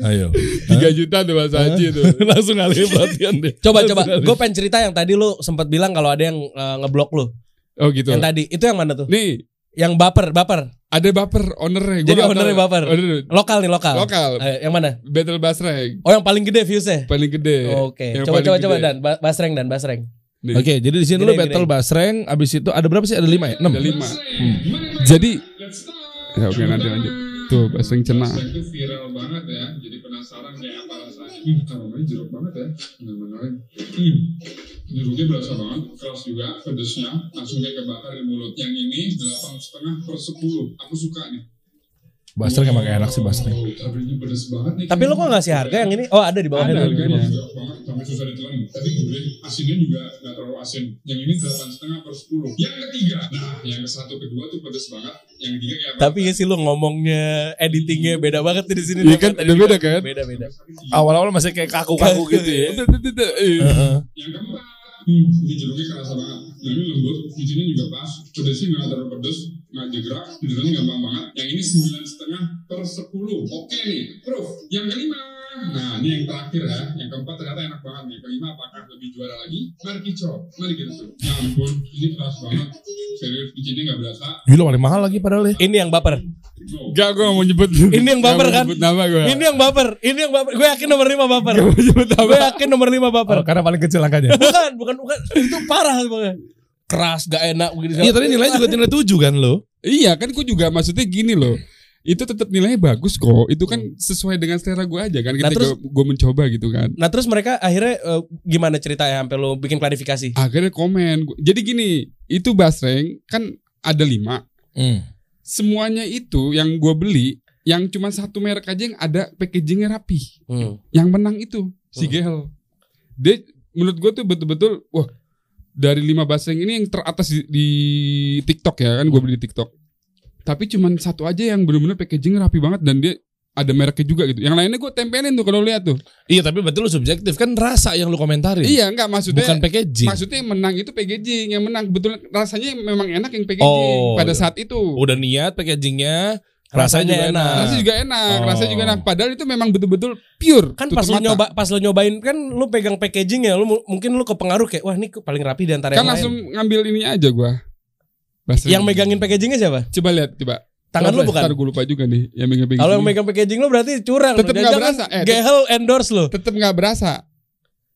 Ayo. Tiga juta tuh Mas Haji tuh. Langsung alih perhatian deh. Coba coba, gue pengen cerita yang tadi lu sempat bilang kalau ada yang eh, ngeblok lu. Oh gitu. Yang tadi, itu yang mana tuh? Nih, Yang baper, baper. ada baper ownernya. Gua Jadi nggak ownernya tahu. baper. Owner Lokal nih, lokal. lokal. Eh, yang mana? Battle Basreng Oh, yang paling gede views-nya. paling gede. Iya. Oke, Yang coba paling coba coba gede. dan Ba- basreng dan basreng. Nih, Oke, jadi di sini lu Gini, battle gini. basreng, abis itu ada berapa sih? Ada lima ya? Enam. Oh. Ada lima. Jadi ya, oke nanti lanjut. Tuh Basreng Cena. Hashtag itu viral banget ya, jadi penasaran kayak apa rasanya. Hmm, taruhannya jeruk banget ya, nggak menarik. Hmm, jeruknya berasa banget, keras juga, pedesnya, langsung kayak kebakar di mulut. Yang ini delapan setengah per sepuluh, aku suka nih. Basreng emang enak sih basreng. Wow, cabenya pedes banget nih. Tapi lu kok ngasih harga yang ini? Oh, ada di bawahnya. Ada tuh. harganya juga banget sampai susah ditelan. Tapi gurih, asinnya juga nggak terlalu asin. Yang ini delapan setengah per sepuluh. Yang ketiga, nah yang satu kedua tuh pedes banget. Yang ketiga kayak apa? Tapi ya sih lu ngomongnya editingnya beda banget di sini. Iya sama kan, tadi. udah beda kan? Beda beda. Awal-awal masih kayak kaku-kaku gitu ya. Yang keempat, hmm, ini jeruknya kerasa banget. Yang Nah, ini lembut, bijinya juga pas. Pedesnya nggak terlalu pedes, nggak jegrak, tidurnya gampang banget. Yang ini sembilan setengah per sepuluh. Oke nih, proof. Yang kelima, nah ini yang terakhir ya. Yang keempat ternyata enak banget nih. Yang kelima apakah lebih juara lagi? Mari kicau, mari kita tuh. Ya ampun, ini keras banget. Serius, bijinya nggak berasa. Gila paling mahal lagi padahal ya. Ini yang baper. No. Gak gue mau nyebut. Ini yang Nggak baper mau kan? Nyebut nama Iya. gue. Ini yang baper. Ini yang baper. Gue yakin nomor 5 baper. Gue yakin nomor 5 baper. Oh, karena paling kecil angkanya. Bukan, bukan, bukan. Itu parah banget. Keras, gak enak gitu. begini. Iya tadi nilainya juga nilai tujuh kan lo? Iya kan gue juga maksudnya gini loh. Itu tetap nilainya bagus kok. Itu kan sesuai dengan selera gue aja kan. Hmm. Nah, Ketika terus- gue mencoba gitu kan. Nah terus mereka akhirnya eh, gimana ceritanya sampai lo bikin klarifikasi? Akhirnya komen. Gua- Jadi gini. Itu Basreng kan ada lima. Hmm. Semuanya itu yang gue beli. Yang cuma satu merek aja yang ada packagingnya rapi. Hmm. Yang menang itu si Oh. Gehel. Dia menurut gue tuh betul-betul. Wah dari lima Basreng ini yang teratas di, di TikTok ya kan. Gue beli di TikTok. Tapi cuman satu aja yang bener-bener packagingnya rapi banget. Dan dia ada mereknya juga gitu. Yang lainnya gue tempelin tuh kalau lu lihat tuh. Iya tapi berarti lu subjektif kan rasa yang lu komentarin. Iya enggak maksudnya Bukan packaging. maksudnya yang menang itu packaging yang menang kebetulan rasanya memang enak yang packaging Oh, pada iya. saat itu. Udah niat packagingnya, Rasanya rasanya, juga enak. enak. Rasanya juga enak, Oh. rasanya juga enak. Padahal itu memang betul-betul pure. Kan tutup pas lo mata. nyoba, pas lo nyobain kan lo pegang packaging ya, lo mu- mungkin lo kepengaruh kayak wah ini paling rapi di antara kan yang langsung lain. ngambil ininya aja gua. Basreng. Yang megangin packagingnya siapa? coba lihat coba. Tangan lo Coba, bukan? Ntar gue lupa juga nih yang megang packaging. Kalau yang megang packaging lo berarti curang. Tetep Dia nggak jangan berasa, eh, Gehel endorse lo. tetap nggak berasa.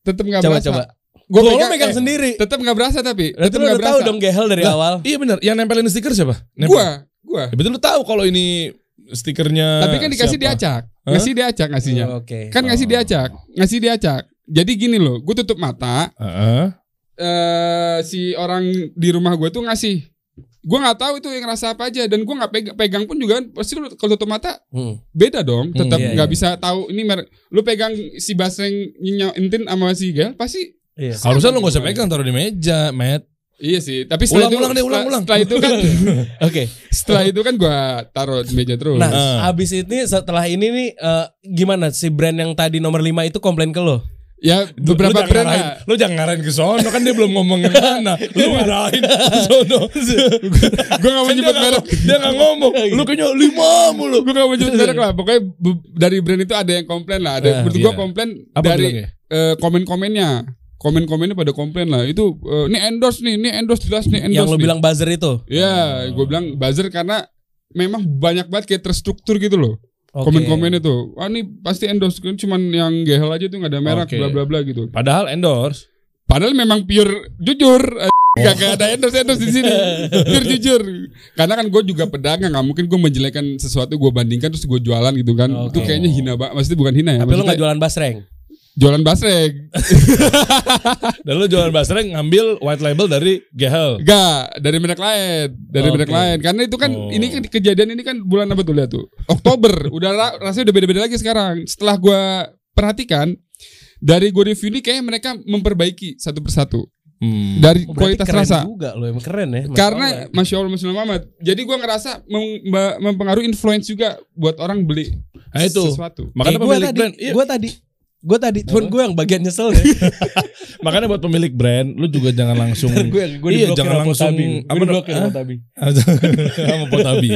Tetap nggak Coba berasa. coba. Gua Lo lo megang eh, sendiri. Tetap nggak berasa tapi. Berarti Tetap lo nggak udah tahu berasa. dong Gehel dari Lah, awal. Iya benar, yang nempelin stiker siapa? Nempel. Gua, gua. Ya, berarti lu tahu kalau ini stikernya Tapi kan dikasih siapa? diacak. Hah? Ngasih diacak ngasihnya. Eh, Oh, Oke. Kan ngasih diacak, ngasih diacak. Jadi gini loh, gue tutup mata, Heeh. eh si orang di rumah gue tuh ngasih. Gue nggak tahu itu yang rasa apa aja dan gue nggak pegang, pegang pun juga kan, pasti lu kalau tutup mata Hmm. beda dong. Tetap iya, nggak iya. bisa tahu ini merek. Lu pegang si basreng nyinyo entin sama si gel pasti Iya. Harusnya lu gak usah pegang taruh di meja, Matt. iya sih. Tapi Ulang, setelah itu ulang deh, ulang, setelah- ulang. setelah itu kan Oke. setelah itu kan gue taruh di meja terus. Nah, Eh. habis ini setelah ini nih eh, gimana si brand yang tadi nomor 5 itu komplain ke lo? ya lu beberapa jangan brand ngarahin, lah. lu jangan ngarahin ke sono kan dia belum ngomong yang mana. Iya. Lu ngarahin ke sono. Gue nggak mau Kan dia nyebut nggak- merek. Dia gak ngomong. Lu kayaknya lima mulu. gue gak mau nyebut merek lah pokoknya be- dari brand itu ada yang komplain lah ada Ah, menurut iya. gue komplain Apa dari bilangnya? eh, komen-komennya komen-komennya pada komplain lah itu eh, ini endorse nih ini endorse jelas nih endorse Yang lo nih. bilang buzzer itu. Ah. ya gue bilang buzzer karena memang banyak banget kayak terstruktur gitu loh Oke. komen-komennya tuh wah "Ah, ini pasti endorse kan cuman yang gehel aja tuh gak ada merek Oke. bla bla bla gitu Padahal endorse. padahal memang pure jujur eh, Oh. Gak, gak ada endorse endorse di sini. Pure jujur. Karena kan gue juga pedagang, nggak mungkin gue menjelekkan sesuatu gue bandingkan terus gue jualan gitu kan. Itu Oke. kayaknya hina banget. Maksudnya bukan hina ya. Tapi lo maksudnya gak jualan basreng. jualan basreng. Dan lu jualan basreng ngambil white label dari Gehel. Gak dari merek lain, dari Oke. merek lain. Karena itu kan Oh. ini kan kejadian ini kan bulan apa tuh lihat tuh. Oktober. udah ra- rasanya udah beda-beda lagi sekarang. Setelah gue perhatikan dari gue review ini kayaknya mereka memperbaiki satu persatu Hmm. dari Oh, berarti kualitas keren rasa. juga lo emang keren ya. Masya Karena Allah. masya Allah Muslim Muhammad. Jadi gua ngerasa mem- mba- mempengaruhi influence juga buat orang beli Nah, itu. sesuatu. kan? Makanya eh, gue pemilik tadi, brand. Iya. gue tadi Gue tadi cuman gue yang bagian nyesel ya. Makanya buat pemilik brand, lu juga jangan langsung gue yang gue Iya, jangan langsung- apa Gue namanya? diblokir Hah? sama Tabi. sama potabi.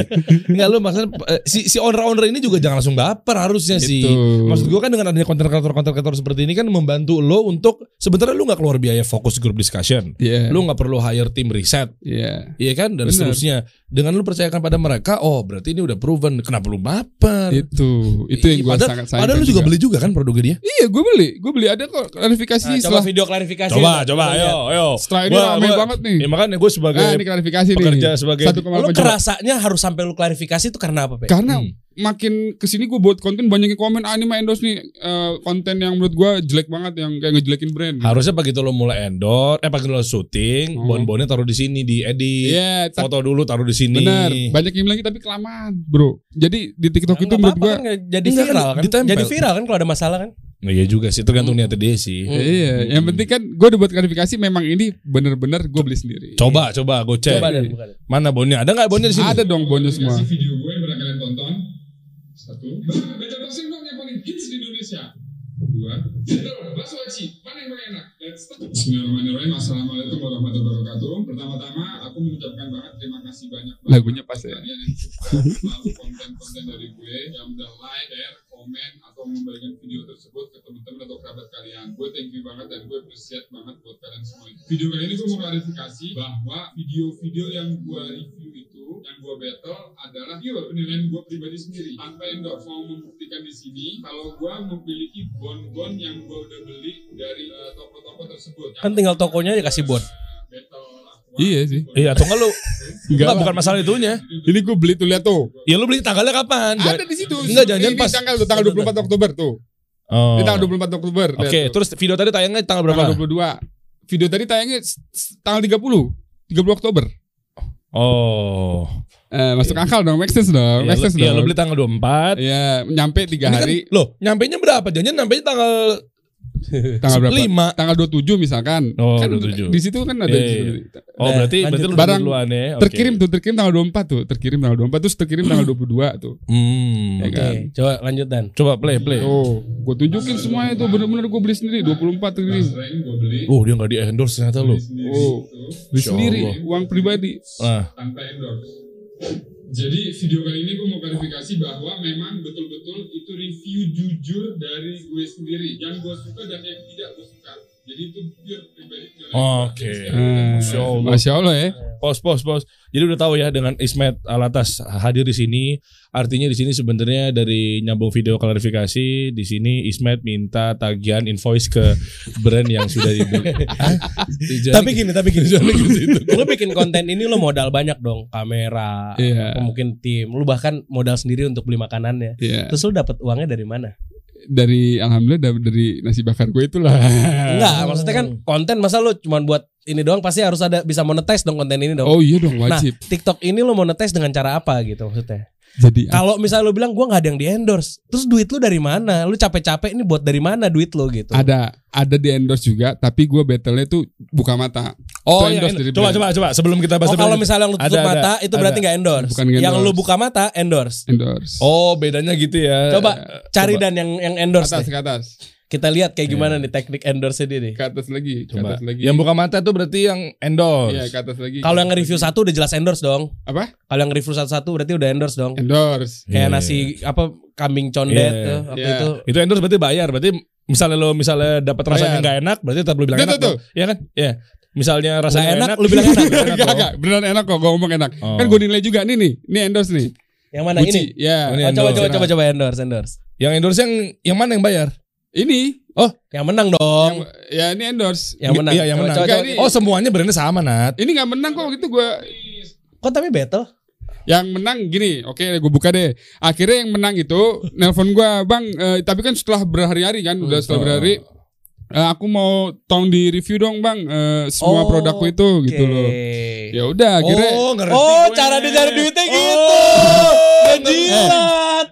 Enggak lu maksudnya eh, si si owner-owner ini juga jangan langsung baper harusnya sih. Gitu. Maksud gue kan dengan adanya konten kreator-konten kreator seperti ini kan membantu lo untuk sebenarnya lu nggak keluar biaya fokus grup discussion. Iya. Lu nggak perlu hire tim riset, Iya. iya kan? Dan Benar. seterusnya. Dengan lu percayakan pada mereka, oh berarti ini udah proven. Kenapa lu baper? Itu, itu yang gue Padahal- sangat sayangkan. Padahal lu juga beli juga kan produknya dia? Iya, gue beli, gue beli ada kok klarifikasi Nah, coba setelah video klarifikasi. Coba, coba, ayo, ayo. iya. setelah ini Wah, rame gua- banget nih. Ya makanya gue sebagai Nah, ini klarifikasi pekerja nih. sebagai- satu koma Lu delapan juta. kerasanya harus sampai lu klarifikasi itu karena apa, Pe? Karena Hmm. makin kesini gue buat konten banyak yang komen ah ini mah endorse nih eh, konten yang menurut gue jelek banget yang kayak ngejelekin brand. harusnya begitu lo mulai endorse, eh begitu lo syuting, Hmm. bon-bonnya taruh di sini di edit, Iya, ta- foto dulu taruh di sini. benar. Banyak yang bilang tapi kelamaan, bro. Jadi di TikTok itu Nggak menurut apa-apa gue kan, nggak jadi Enggak, viral kan. ditempel. Jadi viral kan kalau ada masalah kan. Nah, iya juga sih, tergantung niatnya dia sih. Hmm. Iya, yang penting kan gue udah buat klarifikasi memang ini bener-bener gue beli sendiri. Coba, coba gue cek. Coba dan bukan. Mana bonnya? Ada nggak bonnya di sini? Ada dong bonus semua. Kasih video gue yang pernah kalian tonton. Satu. Bang, Beda Pasir dong yang paling hits di Indonesia. Dua. Jendol, bakso aci. Mana yang paling enak? Let's start. Bismillahirrahmanirrahim. Assalamualaikum warahmatullahi wabarakatuh. Pertama-tama, aku mengucapkan banget terima kasih banyak. banget Lagunya pas ya. kalian yang suka selalu konten-konten dari gue yang udah like, share, komen atau membagikan video tersebut ke teman-teman atau kerabat kalian. Gue thank you banget dan gue appreciate banget buat kalian semua. Video kali ini gue mau klarifikasi bahwa video-video yang gue review itu, yang gue battle adalah pure penilaian gue pribadi sendiri tanpa endorse. Mau membuktikan di sini kalau gue memiliki bon-bon yang gue udah beli dari eh, toko-toko tersebut. Kan tinggal tokonya aja kasih bon. Battle aku. Iya sih. Iya, atau nggak lo? Enggak Enggak, lah. bukan masalah itunya. Ini gue beli tuh lihat tuh. Ya lu beli tanggalnya kapan? Ada di situ. Enggak, jangan-jangan Ini pas- tanggal tuh tanggal 24 Oktober tuh. Oh. Ini tanggal 24 Oktober. Oke, terus video tadi tayangnya tanggal berapa? berapa? 22. Video tadi tayangnya s- s- tanggal 30. 30 Oktober. Oh. Eh, masuk akal dong, make sense Iya, dong, lu, make sense iya, lu dong. beli tanggal 24. Iya, nyampe 3 Ini kan, hari loh, nyampainya berapa? Jangan nyampainya tanggal tanggal berapa? 5. Tanggal 27 misalkan. Oh, kan 27. Di situ kan ada Iya, di- iya. di- Oh, Nah, berarti lanjut. berarti lu Barang duluan ya. Oke. terkirim tuh, terkirim tanggal 24 tuh, terkirim tanggal 24 terus terkirim tanggal 22 tuh. Hmm. Ya Oke, kan? coba lanjut Dan. Coba play, play. Oh, gue tunjukin semuanya tuh bener-bener gue beli sendiri 24 terkirim. Selain gue beli Oh, dia nggak di endorse ternyata lu. sendiri itu, Oh, beli Insya sendiri Allah. uang pribadi. Ah. tanpa endorse. Jadi video kali ini gue mau klarifikasi bahwa memang betul-betul itu review jujur dari gue sendiri. Yang gue suka dan yang tidak gue suka. Jadi itu pure pribadi. Oke. Oh, Eh, Hmm. Masya Allah. Masya Allah ya. Pos, pos, pos. Jadi udah tahu ya dengan Ismet Alatas hadir di sini. Artinya di sini sebenarnya dari nyambung video klarifikasi di sini Ismet minta tagihan invoice ke brand yang sudah dibeli. Tapi gini, tapi gini. lu bikin konten ini lu modal banyak dong, kamera, Iya. mungkin tim, lu bahkan modal sendiri untuk beli makanannya. Iya. Terus lu dapat uangnya dari mana? Dari alhamdulillah dari, dari nasi bakar gue itulah. Enggak, Hmm. maksudnya kan konten masa lu cuman buat ini doang pasti harus ada bisa monetize dong konten ini dong. Nah, Oh iya dong Nah, wajib. TikTok ini lu monetize dengan cara apa gitu maksudnya? Jadi Ya. Kalau misalnya lu bilang gua nggak ada yang di endorse, terus duit lu dari mana? Lu capek-capek ini buat dari mana duit lu gitu? ada ada di endorse juga, tapi gue battle-nya tuh buka mata. Oh, Itu ya, endorse dari coba, brand. coba, coba. Sebelum kita bahas Oh, kalau misalnya lu tutup Ada, ada, mata itu berarti ada. nggak endorse. Bukan Yang endorse. lu buka mata endorse. Endorse. Oh, bedanya gitu ya. Coba coba. cari Iya. dan yang yang endorse. atas deh. ke atas. Kita lihat kayak gimana nih teknik endorse dia nih. Ke atas lagi, ke Coba. atas lagi. Yang buka mata itu berarti yang Iya, endorse. ke atas lagi. Kalau Ke atas yang nge-review lagi. satu udah jelas endorse dong. apa? Kalau yang nge-review satu-satu berarti udah endorse dong. Endorse. Kayak Iya. nasi apa kambing condet Iya. tuh, waktu Iya. itu. Itu endorse berarti bayar. Berarti misalnya lo misalnya dapat rasanya Bayar. nggak enak, berarti tetap lo bilang Tuh, enak. tuh, tuh. dong. Iya kan? Iya. Misalnya rasanya enak, enak, lu bilang enak. Enak Enggak, dong. enggak, beneran enak kok, gue ngomong enak. Oh. Kan gue nilai juga nih nih, ini endorse nih. Yang mana Gucci, ini? ya. Ini Iya, Oh, coba endorse. iya. coba coba coba endorse endorse. Yang endorse yang yang mana yang bayar? Ini, Oh, Yang menang dong. yang- ya ini endorse. Yang menang. Iya, yang Coba, menang. coba, Enggak, coba. ini- Oh, semuanya brandnya sama, Nat. Ini nggak menang kok gitu gue Kok tapi battle? Oh, Yang menang gini, oke gue buka deh. Akhirnya yang menang itu nelpon gua bang. eh, tapi kan setelah berhari-hari kan, udah setelah berhari. eh, aku mau tolong di review dong bang, eh, semua Oh, produkku itu gitu oke. loh. Ya udah, akhirnya Oh, ngerti. Oh, ya. gue. cara dia cari duitnya Oh. gitu. Jilat.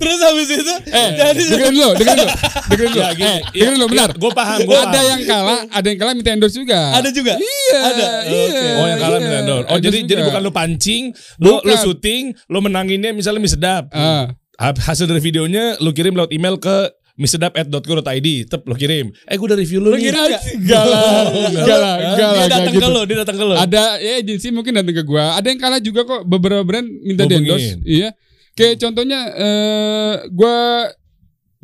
Terus habis itu eh jadi dengerin lo, dengerin lo, dengerin Ya, lo, eh, dengerin lo benar. Gue iya, paham, gue paham. Ada yang kalah, ada yang kalah minta endorse juga. ada juga. Iya, Ada. iya. Oh yang kalah iya. Milan Dor. Oh Endorse jadi juga. jadi bukan lu pancing, lu lu Bukan. syuting, lu menanginnya misalnya mie sedap. Ah, Ha- Hasil dari videonya lu kirim lewat email ke misedap@co.id tep lo kirim eh gue udah review lu, Lu nih Iya. kira- Enggak lah, enggak lah, enggak lah, dia enggak datang gitu. ke lo, dia datang ke lo. Ada ya agensi mungkin datang ke gua. Ada yang kalah juga kok beberapa brand minta di Hubungin. endorse. Iya. Kayak contohnya eh gua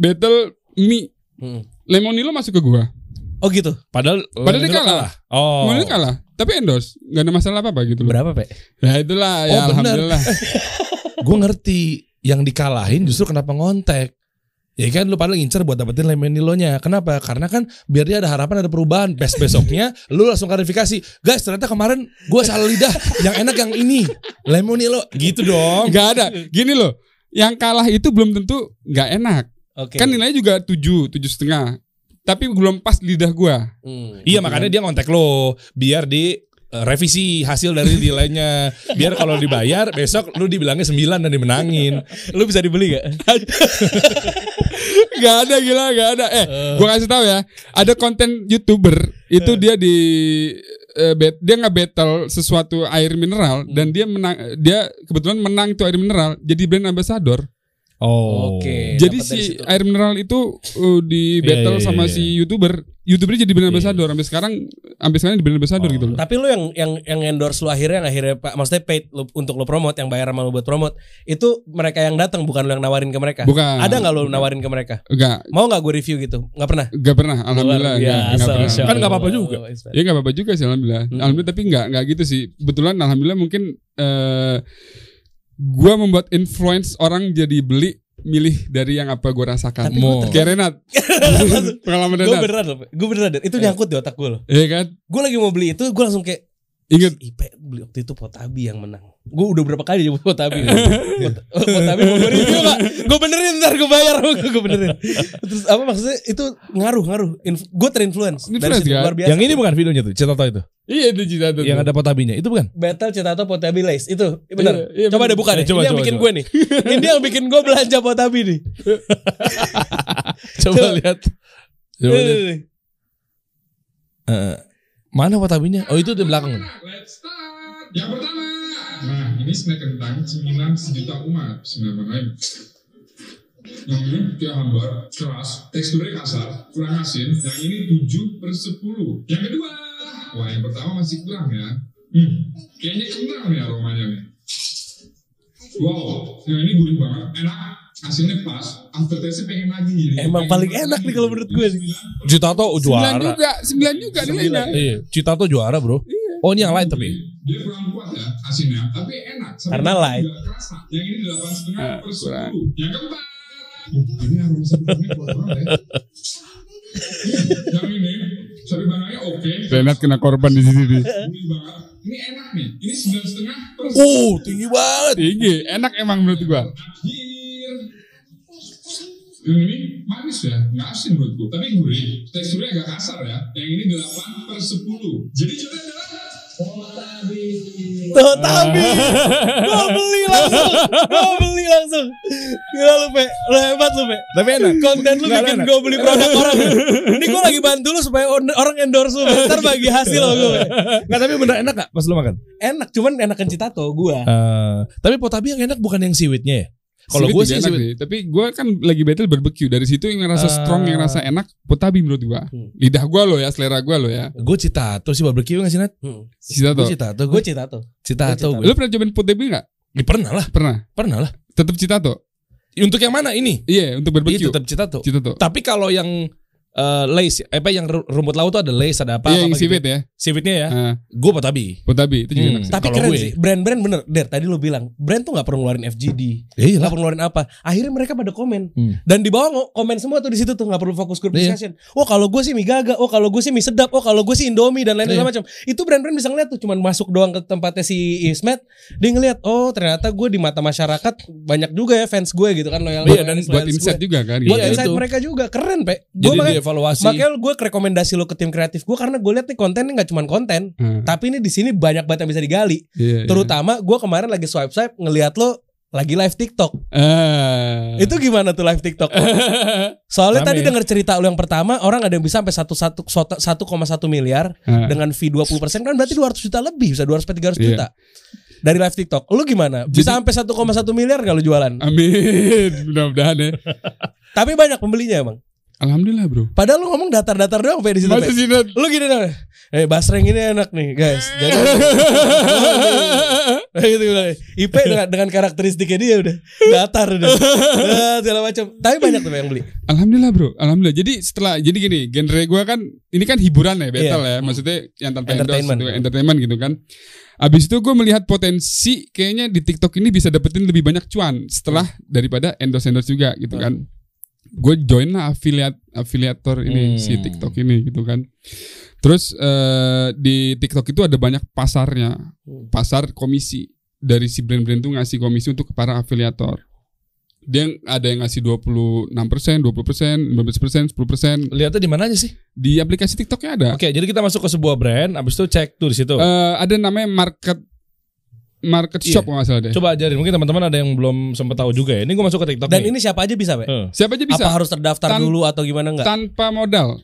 battle mie Hmm. Lemonilo masuk ke gua. Oh gitu. padahal Padahal dia lu kalah. oh Lemonilo kalah, tapi endorse. Gak ada masalah apa-apa gitu loh. Berapa, Pak? Ya itulah Oh, ya bener. alhamdulillah. gue ngerti yang dikalahin justru kenapa ngontek Ya kan lu padahal ngincer buat dapetin Lemenilonya Kenapa? Karena kan biar dia ada harapan ada perubahan Best besoknya lu langsung klarifikasi Guys ternyata kemarin gue salah lidah Yang enak yang ini Lemonilo Gitu dong Gak ada. Gini loh, yang kalah itu belum tentu nggak enak. Oke. Kan nilainya juga 7, 7 setengah. Tapi belum pas lidah gua. Hmm. Iya makanya dia ngontek lo Biar di eh, revisi hasil dari nilainya biar kalau dibayar besok lu dibilangnya 9 dan dimenangin Lu bisa dibeli gak? Gak ada gila, gak ada. Eh, gua kasih tahu ya. Ada konten YouTuber itu dia di eh, bet- dia nggak battle sesuatu air mineral Hmm. dan dia menang dia kebetulan menang itu air mineral jadi brand ambassador. oh Oke. Eh, jadi dapat Iya, dari si situ. air mineral itu eh, di Iya, battle iya, sama iya, si iya. YouTuber. YouTuber jadi Iya, brand ambassador sampai sekarang sampai sekarang di brand ambassador gitu loh. Tapi lu yang yang yang endorse lu akhirnya yang akhirnya Pak, maksudnya paid lu, untuk lu promote yang bayar sama lu buat promote itu mereka yang datang bukan lu yang nawarin ke mereka. Bukan. Oh. Ada nggak lu nawarin ke mereka? Enggak, Mau nggak gue review gitu? Nggak pernah. Ya, Gak pernah, alhamdulillah. Luar Gak, biasa, pernah. Masya Kan nggak Allah. apa-apa juga. Ya gak apa-apa juga sih alhamdulillah. Hmm. Alhamdulillah tapi nggak nggak gitu sih. Kebetulan alhamdulillah mungkin eh gua membuat influence orang jadi beli milih dari yang apa gua rasakan. Tapi gua Kayak Renat. Pengalaman Gue Renat. beneran loh, gue beneran. Dan Itu nyangkut di otak gue loh. Iya kan? Gue lagi mau beli itu, gue langsung kayak Ingat IP beli waktu itu Potabi yang menang. Gue udah berapa kali nyebut Potabi. Pot- Potabi mau gue review gak? Gue benerin ntar gue bayar, gue benerin. Terus apa maksudnya? Itu ngaruh ngaruh. Inf- gue terinfluence Influence, situ, kan? luar biasa. yang ini bukan videonya tuh cerita itu Iya itu cita itu. yang ada potabinya itu bukan Battle Cetato Potabi Lace itu Iya, benar. iya, coba bener. deh buka deh. Ya, coba, ini yang coba, bikin coba. gue nih. ini yang bikin gue belanja Potabi nih. Coba. coba lihat coba lihat Nih, Heeh. mana watabinya? Oh itu di belakang. Let's start. Yang pertama. Nah, ini snack kentang cemilan sejuta umat. Sembilan lain. Yang ini dia hambar, keras, teksturnya kasar, kurang asin. Yang ini 7 per 10. Yang kedua. Wah, yang pertama masih kurang ya. Hmm, kayaknya kentang nih aromanya nih. Wow, yang ini gurih banget, enak, asinnya pas, aftertaste pengen lagi. jadi Emang pengen paling makan enak lagi. nih kalau menurut gue nih. Citato Sembilan juara. juga, sembilan juga nilainya. Iya, Citato juara, Bro. Oh, ini yang lain tapi. Dia kurang kuat ya asinnya, tapi enak. Sampai Karena light. nggak kerasa. Yang ini delapan setengah Ah, per kurang. 10. Yang keempat. Uh, ini aroma sebenarnya kuat banget ya. Yang ini sari banganya oke. Renat kena korban di sini. nih. Gurih banget. Ini enak nih. Ini sembilan setengah per Oh, tinggi banget. Tinggi, enak emang menurut gua. Akhir. Yang ini manis ya, nggak asin menurutku, tapi gurih. Teksturnya agak kasar ya. Yang ini 8 per 10. Jadi jumlahnya adalah Potabi. Gue beli langsung. Gue beli langsung. Gila lu, Pe. Lu hebat lu, Pe. Tapi enak. Konten lu Nggak bikin enak. gue beli produk orang. Ini gue lagi bantu lu supaya on- orang endorse lu. Pe. Ntar bagi hasil lo gue. Enggak, tapi bener enak gak pas lu makan? Enak, cuman enakan Citato gue. Eh, tapi potabi yang enak bukan yang siwitnya ya. Kalau Sweet gue juga sih enak siwit. sih, tapi gua kan lagi battle barbecue dari situ yang rasa Ah. strong, yang rasa enak, potabi menurut gua. Hmm. Lidah gua lo ya, selera gua lo ya. Gue Citato sih barbecue nggak sih, Nat? Sisa Gue tuh. Citato, Gue gue Hmm. Citato. Citato. gua Lu Lo pernah cobain potabi nggak? ya, pernah lah, Pernah. pernah lah. Tetap Citato. Untuk yang mana ini? Iya, untuk Iya, barbecue. tetap Citato. Citato. Tapi kalau yang eh, lace, apa yang ru- rumput laut tuh ada lace, ada apa? Iya, yang apa gitu. siwit ya. Siwitnya ya. Ah, Gue potabi. potabi itu juga Hmm. enak sih. Tapi Kalau keren gue- sih. Brand-brand bener. Der, tadi lu bilang. Brand tuh gak perlu ngeluarin FGD. Iya Gak perlu ngeluarin apa. Akhirnya mereka pada komen. Hmm. Dan di bawah ngo- komen semua tuh di situ tuh. Gak perlu fokus group Iya. discussion. Oh kalau gue sih mie gaga. Oh kalau gue sih mie sedap. Oh kalau gue sih Indomie dan Iya. lain-lain macam. Itu brand-brand bisa ngeliat tuh. Cuman masuk doang ke tempatnya si Ismet. Dia ngeliat. Oh ternyata gue di mata masyarakat. Banyak juga ya fans gue gitu kan. Loyal Iya, dan Buat insight juga kan. gitu. Buat Iya, insight itu. mereka juga. Keren Pe. Gue Jadi makanya. dievaluasi. Makanya gue rekomendasi lo ke tim kreatif gue karena gue liat nih kontennya nggak cuman konten, Hmm. tapi ini di sini banyak banget yang bisa digali. Iya, iya. Terutama gue kemarin lagi swipe swipe ngelihat lo lagi live TikTok. Ah. Itu gimana tuh live TikTok? Soalnya Rame tadi ya? denger cerita lu yang pertama orang ada yang bisa sampai 1,1 sota- 1,1 miliar Ah. dengan fee 20% kan berarti 200 juta lebih, bisa 200 sampai 300 Iya. juta. Dari live TikTok. Lu gimana? Bisa Jadi- sampai 1,1 miliar kalau Amin, jualan? mudah-mudahan ya. Tapi banyak pembelinya, Bang. Alhamdulillah bro. Padahal lu ngomong datar-datar doang Pe, di situ. Pe. Masih sih Nat? Lu gini dong. Eh, basreng ini enak nih, guys. Jadi Nah, gitu bilang. IP dengan, dengan karakteristiknya dia udah datar udah. Nah, segala macam. Tapi banyak tuh Pe, yang beli. Alhamdulillah bro, alhamdulillah. Jadi setelah jadi gini, genre gua kan ini kan hiburan ya, battle Iya. ya. Maksudnya yang tanpa Entertainment. entertainment. Gitu, entertainment gitu kan. Abis itu gue melihat potensi kayaknya di TikTok ini bisa dapetin lebih banyak cuan setelah daripada endorse-endorse juga gitu kan. Gue join lah afiliat afiliator Hmm. ini si TikTok ini gitu kan. Terus eh, di TikTok itu ada banyak pasarnya, pasar komisi dari si brand-brand itu ngasih komisi untuk para afiliator. Dia yang- ada yang ngasih 26%, 20%, 15%, 10%. Lihatnya di mana aja sih? Di aplikasi TikToknya ada. Oke, jadi kita masuk ke sebuah brand, abis itu cek tuh di situ. Eh, ada namanya market market Iya. shop kalau nggak salah deh. Coba ajarin, mungkin teman-teman ada yang belum sempat tahu juga ya. Ini gue masuk ke TikTok Dan nih. ini siapa aja bisa, Pe? Eh, Siapa aja bisa Kan- Apa harus terdaftar Tan- dulu atau gimana enggak? tanpa modal.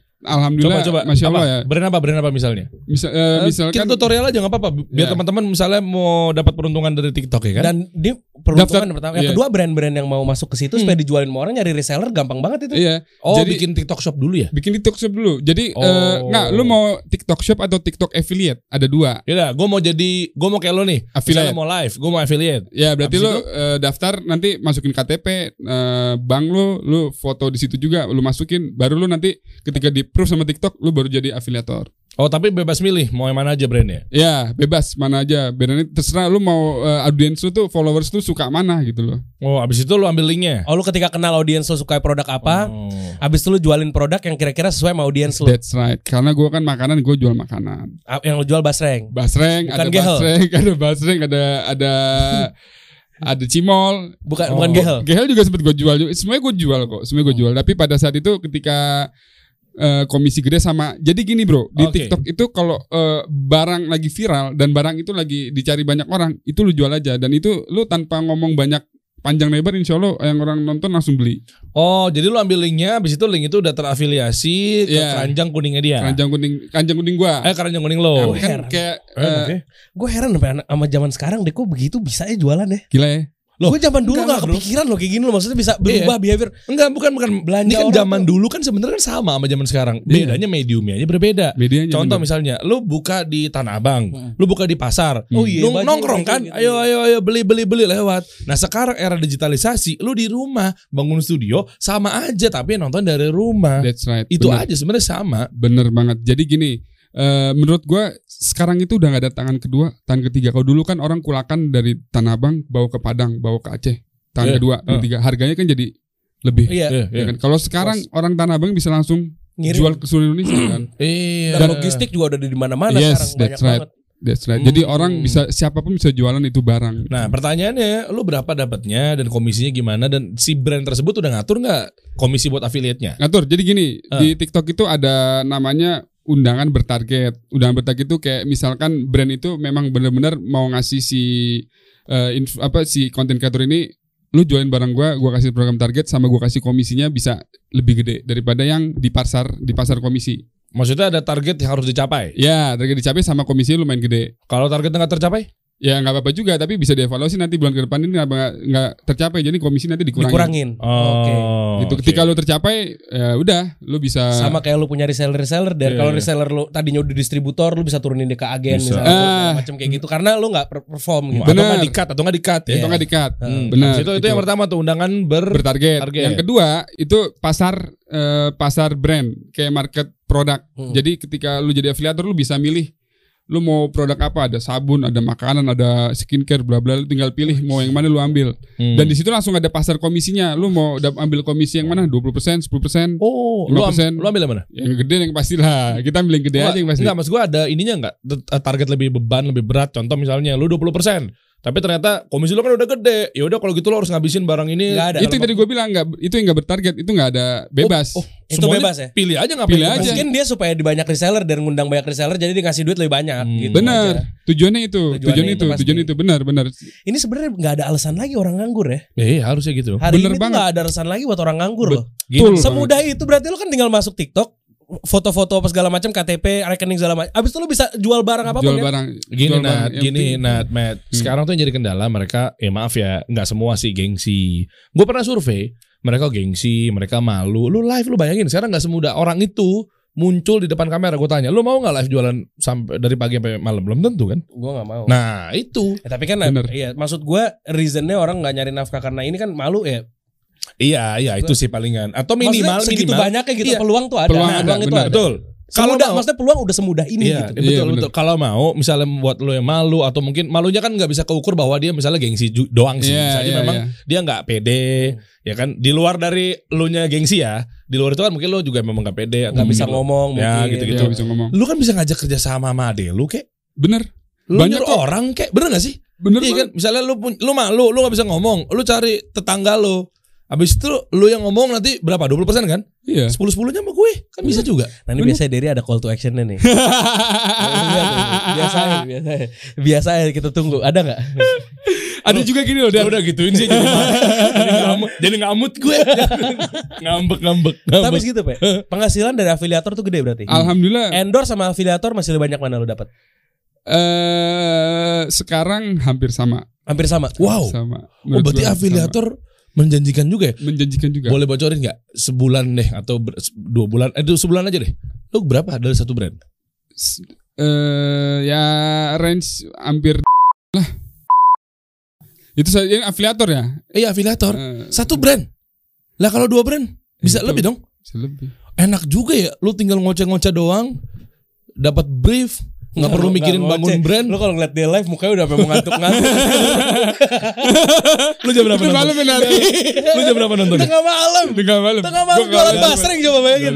coba Alhamdulillah, coba masya Allah apa? ya. Brand apa? Brand apa misalnya? Misa- eh, Eh, misalkan kita tutorial aja nggak apa-apa biar Ya. teman-teman misalnya mau dapat peruntungan dari TikTok ya kan. Dan dia peruntungan Daftar- pertama. Yang iya. kedua brand-brand yang mau masuk ke situ supaya dijualin sama orang nyari reseller gampang banget itu. Iya. oh, jadi- bikin TikTok shop dulu ya? Bikin TikTok shop dulu. Jadi Oh. eh, nggak, lu mau TikTok shop atau TikTok affiliate? Ada dua. Yaudah, gue Ya mau jadi, gue mau kayak lo nih. Misalnya Affiliate. mau live, gue mau affiliate. Ya berarti Habis lo eh, daftar nanti masukin KTP, eh, bank lo, lo foto di situ juga, lo masukin, baru lo nanti ketika di proof sama TikTok, lo baru jadi afiliator. Oh tapi bebas milih mau yang mana aja brandnya. Ya bebas mana aja, berani terserah lo mau eh, audiens lo tuh followers lo suka mana gitu loh. Oh abis itu lo ambil linknya. Oh lu ketika kenal audiens lu suka produk apa, Oh. habis itu lu jualin produk yang kira-kira sesuai sama audiens lu. That's right. Karena gua kan makanan, gue jual makanan. A- Yang lu jual basreng. Basreng, ada Bukan gehel. basreng, ada basreng, ada ada ada cimol, Bukan Oh. bukan gehel. GHL juga sempet gue jual juga. Semuanya gue jual kok. Semuanya gue jual. Tapi pada saat itu ketika eh, komisi gede sama. Jadi gini bro, Oh, di Oke. TikTok itu kalau eh, barang lagi viral dan barang itu lagi dicari banyak orang, itu lu jual aja. Dan itu lu tanpa ngomong banyak panjang lebar, insya Allah yang orang nonton langsung beli. Oh, jadi lu ambil linknya, abis itu link itu udah terafiliasi ke Iya. keranjang kuningnya dia. Keranjang kuning, keranjang kuning gue. Ah. Eh, keranjang kuning lo. Eh, kan heran. kayak Eh, eh, oke. Gue heran apa anak- sama zaman sekarang deh kok begitu bisa ya jualan ya. gila ya. Gue zaman dulu enggak, gak bro. kepikiran loh kayak gini loh maksudnya bisa berubah behavior. Enggak, bukan bukan Belanja Ini kan orang zaman dulu kan sebenarnya kan sama sama zaman sekarang. Iya. Bedanya mediumnya aja berbeda. Medianya. Contoh bener. misalnya, lu buka di Tanah Abang, lu buka di pasar, Oh iya, lu banyak nongkrong yang kan, gitu. ayo ayo ayo beli beli beli lewat. Nah sekarang era digitalisasi, lu di rumah bangun studio sama aja tapi nonton dari rumah. That's right. Itu bener. aja sebenarnya sama. Bener banget. Jadi gini, eh, menurut gua sekarang itu udah nggak ada tangan kedua, tangan ketiga. Kalau dulu kan orang kulakan dari Tanah Abang bawa ke Padang, bawa ke Aceh, Iya, tangan kedua, eh. ketiga. Harganya kan jadi lebih. Iya. Iya, ya kan? Kalau sekarang orang Tanah Abang bisa langsung Ngirim. jual ke seluruh Indonesia kan. Iya. Dan logistik juga udah ada di mana-mana Yes, that's sekarang banyak right. banget. That's right. Jadi Hmm. orang bisa siapapun bisa jualan itu barang. Nah, pertanyaannya lu berapa dapatnya dan komisinya gimana dan si brand tersebut udah ngatur nggak komisi buat affiliate-nya? Ngatur. Jadi gini, Eh. di TikTok itu ada namanya undangan bertarget. Undangan bertarget itu kayak misalkan brand itu memang benar-benar mau ngasih si eh, inf- apa si konten creator ini lu join bareng gua, gua kasih program target sama gua kasih komisinya bisa lebih gede daripada yang di pasar di pasar komisi. Maksudnya ada target yang harus dicapai. Ya, target dicapai sama komisi lumayan gede. Kalau targetnya nggak tercapai, Ya nggak apa-apa juga, tapi bisa dievaluasi nanti bulan ke depan ini kenapa nggak nggak tercapai, jadi komisi nanti dikurangin. Dikurangin. Oke. Oh, Gitu. Ketika lu tercapai, ya udah, lu bisa. Sama kayak lu punya reseller-reseller Iya, dan kalau iya. reseller lu tadinya udah distributor lu bisa turunin dia ke agen Bisa. misalnya Ah. macam kayak gitu karena lu nggak per- perform gitu. atau nggak Benar. dikat atau nggak dikat ya? Itu nggak dikat. Hmm, Benar, gitu. Itu, itu itu. yang pertama tuh undangan ber. bertarget. Target. Yang kedua itu pasar eh, pasar brand kayak market produk. Hmm. Jadi ketika lu jadi afiliator lu bisa milih lu mau produk apa ada sabun ada makanan ada skincare bla bla lu tinggal pilih mau yang mana lu ambil Hmm. dan di situ langsung ada pasar komisinya lu mau dap- ambil komisi yang mana 20% 10% oh, lu, am- 5%. lu ambil yang mana? yang gede yang pastilah kita ambil yang gede aja yang pasti Hmm. Enggak, mas gue ada ininya enggak target lebih beban lebih berat. Contoh misalnya lu 20% tapi ternyata komisi lu kan udah gede. Ya udah kalau gitu lu harus ngabisin barang ini. Nggak ada. itu yang tadi gue bilang nggak itu yang nggak bertarget itu nggak ada bebas Oh, Itu semuanya bebas ya? Pilih aja ngapain. Pilih kita aja. masukin. Mungkin dia supaya di banyak reseller dan ngundang banyak reseller jadi dia ngasih duit lebih banyak Hmm. gitu. benar aja. tujuannya itu Tujuannya tujuan itu itu pasti. tujuan itu benar benar Ini sebenarnya nggak ada alasan lagi orang nganggur ya. Iya, iya, harusnya gitu. Hari Bener ini tuh banget. nggak ada alasan lagi buat orang nganggur loh. Betul banget. Semudah itu berarti lu kan tinggal masuk TikTok, foto-foto apa segala macam, KTP, rekening segala macam. Abis itu lu bisa jual barang apa jual pun ya. barang Gini jual Nat, barang. Yang Hmm. gini penting- Nat, Matt. Sekarang tuh yang jadi kendala mereka, ya maaf ya, nggak semua sih gengsi. Gue pernah survei, mereka gengsi mereka malu lu live lu bayangin sekarang nggak semudah orang itu muncul di depan kamera gue tanya lu mau nggak live jualan sampai dari pagi sampai malam belum tentu kan Gue nggak mau. nah itu Ya, tapi kan Bener. iya maksud gue reasonnya orang nggak nyari nafkah karena ini kan malu ya. iya iya itu sih palingan atau minimal Maksudnya segitu minimal banyaknya gitu Iya. peluang tuh ada. Peluang ada, itu benar. ada. betul kalau Kalau udah mau maksudnya peluang udah semudah ini Iya, gitu. betul Iya, betul. Kalau mau misalnya buat lo yang malu atau mungkin malunya kan nggak bisa keukur bahwa dia misalnya gengsi ju- doang sih. Iya, misalnya iya, memang iya. dia nggak pede, ya kan? Di luar dari lo nya gengsi ya. Di luar itu kan mungkin lo juga memang nggak pede, Hmm. Nggak bisa ngomong. Ya, ngomong mungkin. gitu. gitu-gitu. Iya, bisa ngomong. Lu kan bisa ngajak kerja sama sama ade lu kek. Bener, Lu Banyak nyuruh kok. orang kek, bener gak sih? bener. Iya kan, misalnya lu pun- lu malu, lu nggak bisa ngomong, lu cari tetangga lu. Habis itu lu yang ngomong nanti berapa? 20% kan? Iya. 10-10-nya sama gue, kan bisa juga. Nah ini biasanya dari ada call to actionnya nih. Iya. biasa biasa biasa kita tunggu ada nggak? Ada juga gini loh, Ya Dan. udah gituin sih jadi ngamut, jadi ngamut gue. ngambek ngambek. Tapi segitu pak. Penghasilan dari afiliator tuh gede berarti. Alhamdulillah. Endorse sama afiliator masih lebih banyak mana lu dapat? eh sekarang hampir sama. Hampir sama. Wow. Sama. Oh, Menurut berarti gua afiliator menjanjikan juga ya? sama. menjanjikan juga. Boleh bocorin nggak sebulan deh atau ber- se- dua bulan? Eh, itu sebulan aja deh. Lu berapa dari satu brand? S- eh ya range hampir lah. Itu saya ini afiliator ya. Eh, iya, afiliator. Eh, Satu brand. Lah kalau dua brand bisa Itu. lebih dong. bisa lebih. Enak juga ya. Lu tinggal ngoceh-ngoceh doang, dapat brief, nggak perlu Nggak mikirin ngoceh. bangun brand. Lu kalau ngeliat dia live mukanya udah sampai mau ngantuk-ngantuk. Lu jam berapa Itu malam benar. Lu jam berapa nonton? tengah malam. Tengah malam. Tengah malam jualan basreng coba bayangin.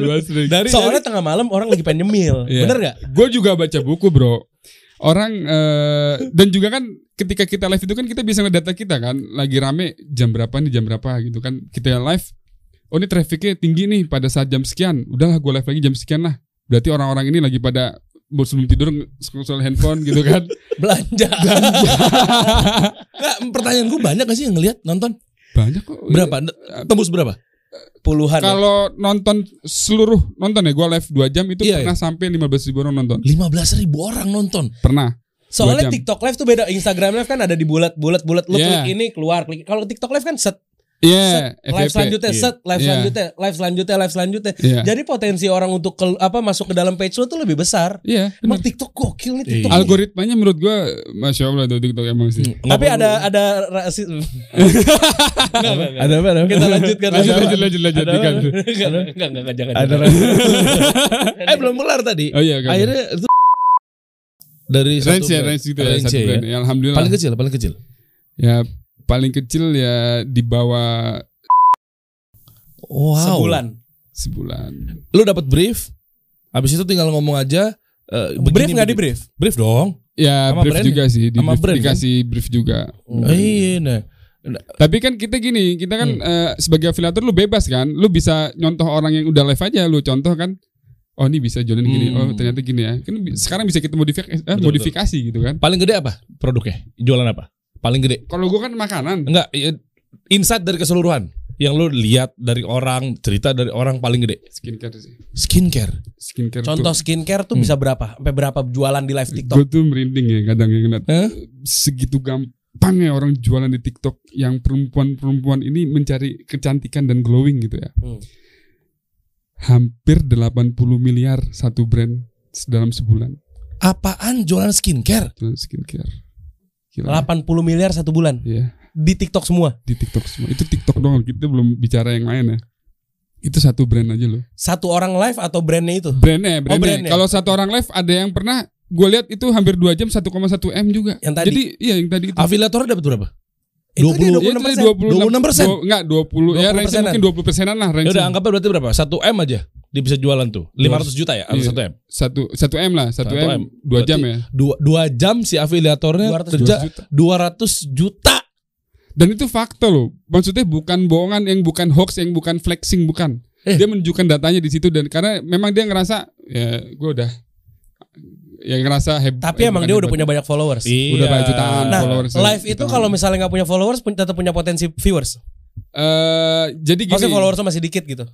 Dari Soalnya tengah malam orang lagi pengen nyemil. Iya. Bener gak? Gue juga baca buku bro. Orang eh, dan juga kan ketika kita live itu kan kita bisa ngedata kita kan lagi rame jam berapa nih jam berapa gitu kan kita live. Oh ini trafficnya tinggi nih pada saat jam sekian. Udahlah gue live lagi jam sekian lah. Berarti orang-orang ini lagi pada sebelum tidur scroll handphone gitu kan. Belanja. Nggak, pertanyaan gue banyak gak sih yang ngeliat nonton? Banyak kok. Berapa? Tembus berapa? Puluhan. ya. Kalau nonton seluruh nonton ya gue live 2 jam itu Iya, pernah sampai 15 ribu orang Iya. nonton. 15 ribu orang nonton. Pernah. Dua Soalnya jam. TikTok Live tuh beda Instagram Live kan ada di bulat-bulat bulat lu Yeah. klik ini keluar klik. Kalau TikTok Live kan set Iya. live FYP. selanjutnya set live Iya. selanjutnya live selanjutnya live selanjutnya. Iya. Jadi potensi orang untuk ke- apa masuk ke dalam page lu tuh lebih besar. Iya. Emang TikTok gokil nih TikTok. Iya. Algoritmanya menurut gua masya Allah tuh TikTok emang sih. Tapi ada ada rasi- Nggak, nggak, nggak. ada apa? Ada apa? Kita lanjutkan. Lanjut lanjut lanjut lanjut Ada- lanjutkan. Nggak, nggak, nggak, jangan. Ada jangan. lagi. eh belum kelar tadi. Oh iya. kan. Akhirnya itu dari range satu ya brand. range gitu ya Range satu ya. brand. Ya, Alhamdulillah. Paling kecil, paling kecil. ya paling kecil ya di bawah Wow. Sebulan. sebulan. Lu dapat brief, habis itu tinggal ngomong aja. eh, begini, Brief nggak di begini. brief? Brief dong. Ya Sama brief brand juga sih. Di Sama brief, brand, kan? dikasih brief juga. Iya, nah. Tapi kan kita gini, kita Hmm. kan eh, sebagai afiliator lu bebas kan, lu bisa nyontoh orang yang udah live aja, lu contoh kan, oh ini bisa jualan gini, Hmm. oh ternyata gini ya, kan bi- sekarang bisa kita modifik- eh, Betul, modifikasi gitu kan. Paling gede apa produknya? Jualan apa? Paling gede. Kalau gua kan makanan, Enggak, i- insight dari keseluruhan yang lu lihat dari orang, cerita dari orang paling gede. skincare sih, Skincare. skincare. Contoh tuh. skincare tuh Hmm. bisa berapa? Sampai berapa jualan di live TikTok? Gua tuh merinding ya kadang ya ngeliat Hah? segitu gampang ya orang jualan di TikTok yang perempuan-perempuan ini mencari kecantikan dan glowing gitu ya. Hmm. Hampir 80 miliar satu brand dalam sebulan Apaan jualan skincare? jualan skincare. Gila. 80 miliar satu bulan Iya. di TikTok semua. di TikTok semua. Itu TikTok doang, kita belum bicara yang lain ya. Itu satu brand aja loh. Satu orang live atau brandnya itu? Brandnya, brandnya. Oh, brandnya. Kalau satu orang live ada yang pernah gue lihat itu hampir 2 jam 1,1 M juga. Yang tadi? Jadi iya yang tadi itu. Afiliator dapat berapa? Itu 20. dia Iya, itu tadi 26%. Dua- Enggak, 20. Ya 20%. range mungkin 20 persenan lah range. Ya udah anggapnya berarti berapa? 1 M aja dia bisa jualan tuh. 500 juta ya atau Iya. 1 M? Satu, satu M lah, satu, Satu M. M. 2 jam Berarti ya. 2, jam si afiliatornya 200 kerja 2 juta. 200 juta. Dan itu fakta loh. Maksudnya bukan bohongan, yang bukan hoax, yang bukan flexing, bukan. Eh. Dia menunjukkan datanya di situ dan karena memang dia ngerasa ya gue udah ya ngerasa heb- iya, Tapi eh, bukan emang dia udah hebat. punya banyak followers. Udah banyak jutaan Nah, followers. ya, gitu. live itu kalau misalnya nggak punya followers pun tetap punya potensi viewers. eh jadi gini, Maksudnya followersnya masih dikit gitu.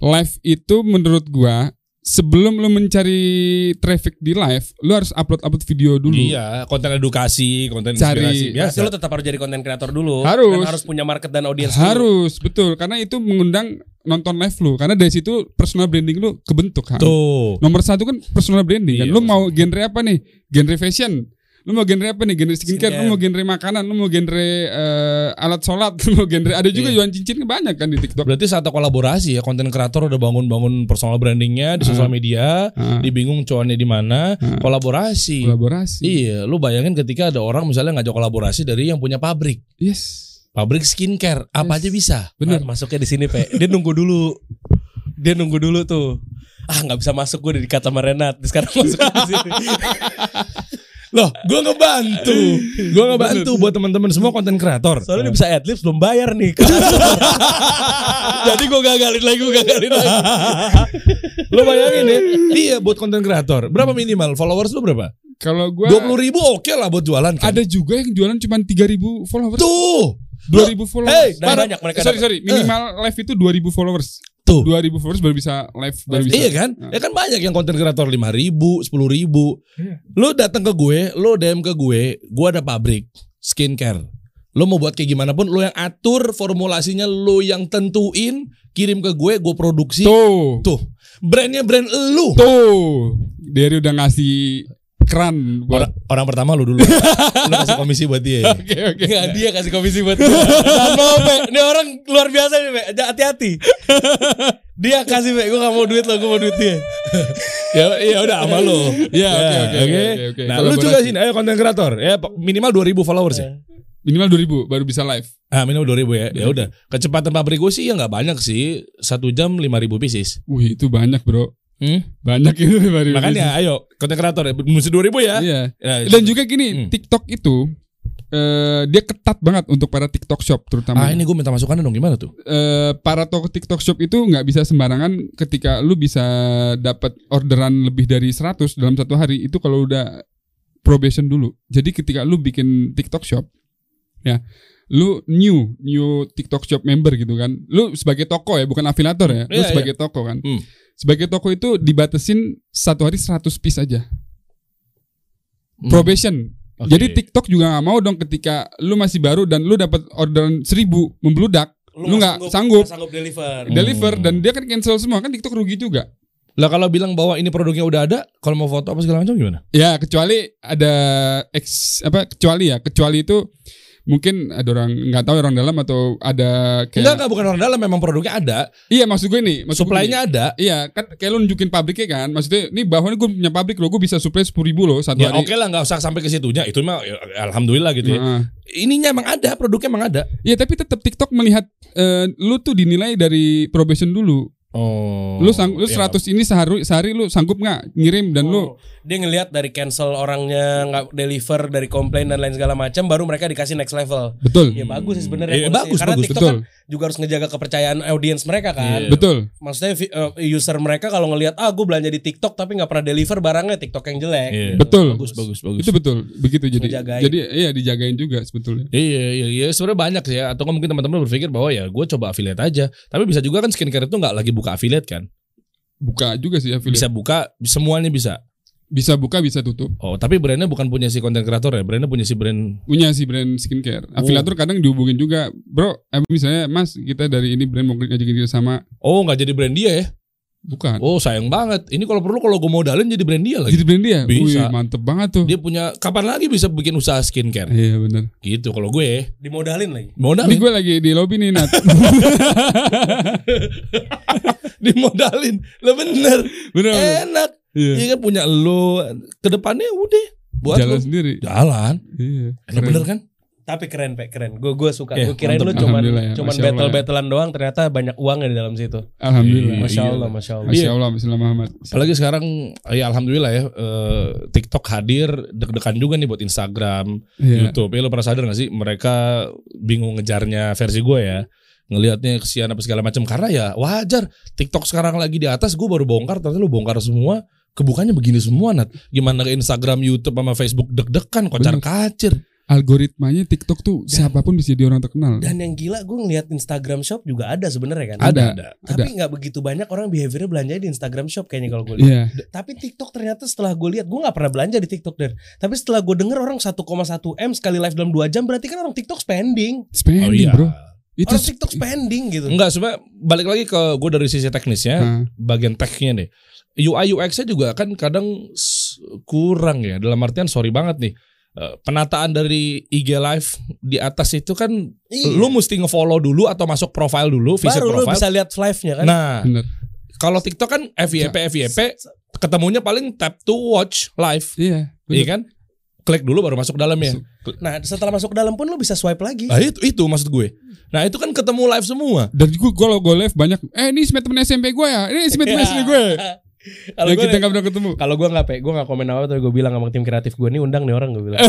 live itu menurut gua sebelum lu mencari traffic di live, lu harus upload-upload video dulu. Iya, konten edukasi, konten ya, Cari- inspirasi biasa. Berarti lo tetap harus jadi konten kreator dulu. Harus. Dan harus punya market dan audiens. dulu. Harus, betul. Karena itu mengundang nonton live lu. Karena dari situ personal branding lu kebentuk kan. Tuh. Nomor satu kan personal branding kan. Iya, Lu mau genre apa nih? Genre fashion. Lu mau genre apa nih? Genre skincare, Skincare. lu mau genre makanan, lu mau genre eh, alat sholat, lu mau genre ada juga Iya. jualan cincin banyak kan di TikTok. Berarti saat kolaborasi ya konten kreator udah bangun-bangun personal brandingnya di sosial media, Ah, dibingung cuannya di mana, Ah. kolaborasi. kolaborasi. Iya, lu bayangin ketika ada orang misalnya ngajak kolaborasi dari yang punya pabrik, Yes. pabrik skincare, apa Yes. aja bisa. Bener. Nah, masuknya di sini, Pe. Dia nunggu dulu. Dia nunggu dulu tuh. Ah, nggak bisa masuk gue di kata sama Renat. Sekarang masuk di sini. Loh, gua ngebantu. gua ngebantu buat teman-teman semua konten kreator. Soalnya dia bisa adlibs belum bayar nih. Jadi gue gagalin lagi, gue gagalin lagi. Lu bayangin ya, iya buat konten kreator. Berapa minimal followers lu berapa? Kalau gua 20 ribu oke lah buat jualan kan. ada juga yang jualan cuma 3000 followers. tuh. 2000 followers. Hey, Dan para- banyak mereka. sorry dapat. sorry minimal live itu 2000 followers Eh. Tuh. 2000 followers baru bisa live baru bisa Iya kan? Nah. Ya kan banyak yang konten kreator 5 ribu, 10 ribu. Iya. Lu datang ke gue, lu DM ke gue, gue ada pabrik skincare. Lu mau buat kayak gimana pun, lu yang atur formulasinya, lu yang tentuin, kirim ke gue, gue produksi. Tuh. tuh Brandnya brand lu. tuh Derry udah ngasih keran buat Orang, orang pertama lu dulu. lu kasih komisi buat dia. ya. oke oke Iya. Nggak, dia kasih komisi buat gue. Tahan mau, Pe. Ini orang luar biasa nih, Pe. Ja- Hati-hati. Dia kasih, Pe. Gue gak mau duit lo, gue mau duit dia. ya, ya udah sama lu. Ya, oke, oke, oke. oke, oke. Nah, lu Kolaborasi. juga sini ayo konten kreator. Ya po- minimal 2000 followers ya. minimal 2000 baru bisa live Ah, minimal 2000 ya. Ya udah. Kecepatan pabrik gue sih ya nggak banyak sih. Satu jam 5000 pieces. wih itu banyak bro Hmm? banyak itu baru Makanya ayo konten kreator ya, musuh 2000 ya. bisa. iya Ya, dan juga gini Hmm. TikTok itu eh, dia ketat banget untuk para TikTok shop ah terutama ini gue minta masukan dong gimana tuh? eh, para toko TikTok shop itu nggak bisa sembarangan ketika lu bisa dapat orderan lebih dari 100 dalam satu hari itu kalau udah probation dulu. Jadi ketika lu bikin TikTok shop ya lu new new TikTok shop member gitu kan. Lu sebagai toko ya, bukan afiliator ya. Lu Iya, sebagai toko kan. Hmm. Sebagai toko itu dibatesin satu hari 100 piece aja. Hmm. Probation. Oke. Jadi TikTok juga nggak mau dong ketika lu masih baru dan lu dapat orderan 1000 membludak, lu nggak sanggup Nggak sanggup deliver. deliver Hmm. dan dia kan cancel semua kan TikTok rugi juga. Lah kalau bilang bahwa ini produknya udah ada, kalau mau foto apa segala macam gimana? Ya kecuali ada ex apa kecuali ya kecuali itu mungkin ada orang nggak tahu orang dalam atau ada Enggak, kayak enggak bukan orang dalam, memang produknya ada, iya maksud gue ini maksud gue ini. supply-nya ada. Iya kan kayak lu nunjukin pabriknya kan maksudnya ini bahwa ini gue punya pabrik loh gue bisa supply sepuluh ribu loh satu Ya hari. oke lah nggak usah sampai ke situnya. Itu mah ya, alhamdulillah gitu ya. Heeh. Ininya emang ada, produknya emang ada. Iya tapi tetap TikTok melihat eh, lu tuh dinilai dari probation dulu. Oh. lu sang lu ya. 100 ini sehari sehari lu sanggup nggak ngirim dan lu Oh, dia ngelihat dari cancel orangnya nggak deliver dari komplain dan lain segala macam baru mereka dikasih next level betul ya bagus sih sebenarnya Iya, evolusi. bagus, karena bagus, TikTok betul kan juga harus ngejaga kepercayaan audiens mereka kan Iya. betul maksudnya vi- eh, user mereka kalau ngelihat ah gue belanja di TikTok tapi nggak pernah deliver barangnya TikTok yang jelek Iya. Betul. Bagus, bagus, bagus. itu betul begitu jadi Dijagain. jadi iya dijagain juga sebetulnya. Iya, iya, iya. Sebenarnya banyak sih ya. Atau nggak mungkin teman-teman berpikir bahwa ya gue coba affiliate aja. Tapi bisa juga kan skincare itu nggak lagi buka affiliate kan. buka juga sih affiliate. Bisa, Bisa buka, semuanya bisa. bisa buka bisa tutup. Oh, tapi brandnya bukan punya si konten kreator ya. Brandnya punya si brand. Punya si brand skincare. Oh. Afiliator kadang dihubungin juga, bro. em, Misalnya Mas kita dari ini brand mau ngajakin kita sama, Oh, nggak jadi brand dia ya. bukan. Oh, sayang banget. Ini kalau perlu kalau gue modalin jadi brand dia lagi. Jadi brand dia. Bisa. Wih mantep banget tuh. Dia punya kapan lagi bisa bikin usaha skincare? Iya benar. Gitu kalau gue. dimodalin lagi Ini Modalin, gue lagi di lobby nih Nat. dimodalin. Lah bener. Bener. bener. Enak. Iya. Iya kan punya lo. Kedepannya udah buat Jalan lo. sendiri. Jalan. Iya. Enak Keren. bener kan? tapi keren pak keren gue gue suka Eh, gue kirain lu mantap. Iya, cuman Alhamdulillah ya, cuman Masya Allah battle ya. battlean doang ternyata banyak uangnya di dalam situ Alhamdulillah. Iya, masya iya. Allah masya Allah Masya Allah, Masya Allah Muhammad. Apalagi sekarang ya alhamdulillah ya eh, TikTok hadir deg-degan juga nih buat Instagram, Iya. YouTube. Ya lo pernah sadar gak sih mereka bingung ngejarnya versi gue ya ngelihatnya kesian apa segala macam karena ya wajar TikTok sekarang lagi di atas gue baru bongkar ternyata lu bongkar semua kebukanya begini semua Nat gimana ke Instagram YouTube sama Facebook deg-degan kocar Bener. kacir algoritmanya TikTok tuh siapapun bisa jadi orang terkenal. Dan yang gila gue ngeliat Instagram Shop juga ada sebenarnya kan. Ada, ada. Tapi nggak begitu banyak orang behaviornya belanja di Instagram Shop kayaknya kalau gue lihat. Iya, Tapi TikTok ternyata setelah gue lihat gue nggak pernah belanja di TikTok dan. Tapi setelah gue denger orang 1,1 m sekali live dalam 2 jam berarti kan orang TikTok spending. Oh, spending iya. bro. Itu Orang TikTok spending gitu. Enggak, sebenarnya balik lagi ke gue dari sisi teknisnya, Nah, bagian tech-nya nih. UI UX-nya juga kan kadang s- kurang ya. Dalam artian sorry banget nih. Eh, Penataan dari IG Live di atas itu kan Iya. lu mesti nge-follow dulu atau masuk profile dulu, visit Baru lu profile. bisa lihat live-nya kan. Nah, bener. kalau TikTok kan FYP FYP ketemunya paling tap to watch live, Iya. iya bener. kan? Klik dulu baru masuk dalam ya. Nah, setelah masuk ke dalam pun lu bisa swipe lagi. Nah, itu itu maksud gue. Nah, itu kan ketemu live semua. Dan gue kalau gue live banyak, eh ini temen SMP gue ya, ini temen Ya. SMP gue. Kalau Yang gue kita nggak pernah ketemu. kalau gue nggak pe, gue nggak komen apa tapi gue bilang sama tim kreatif gue nih undang nih orang gue bilang.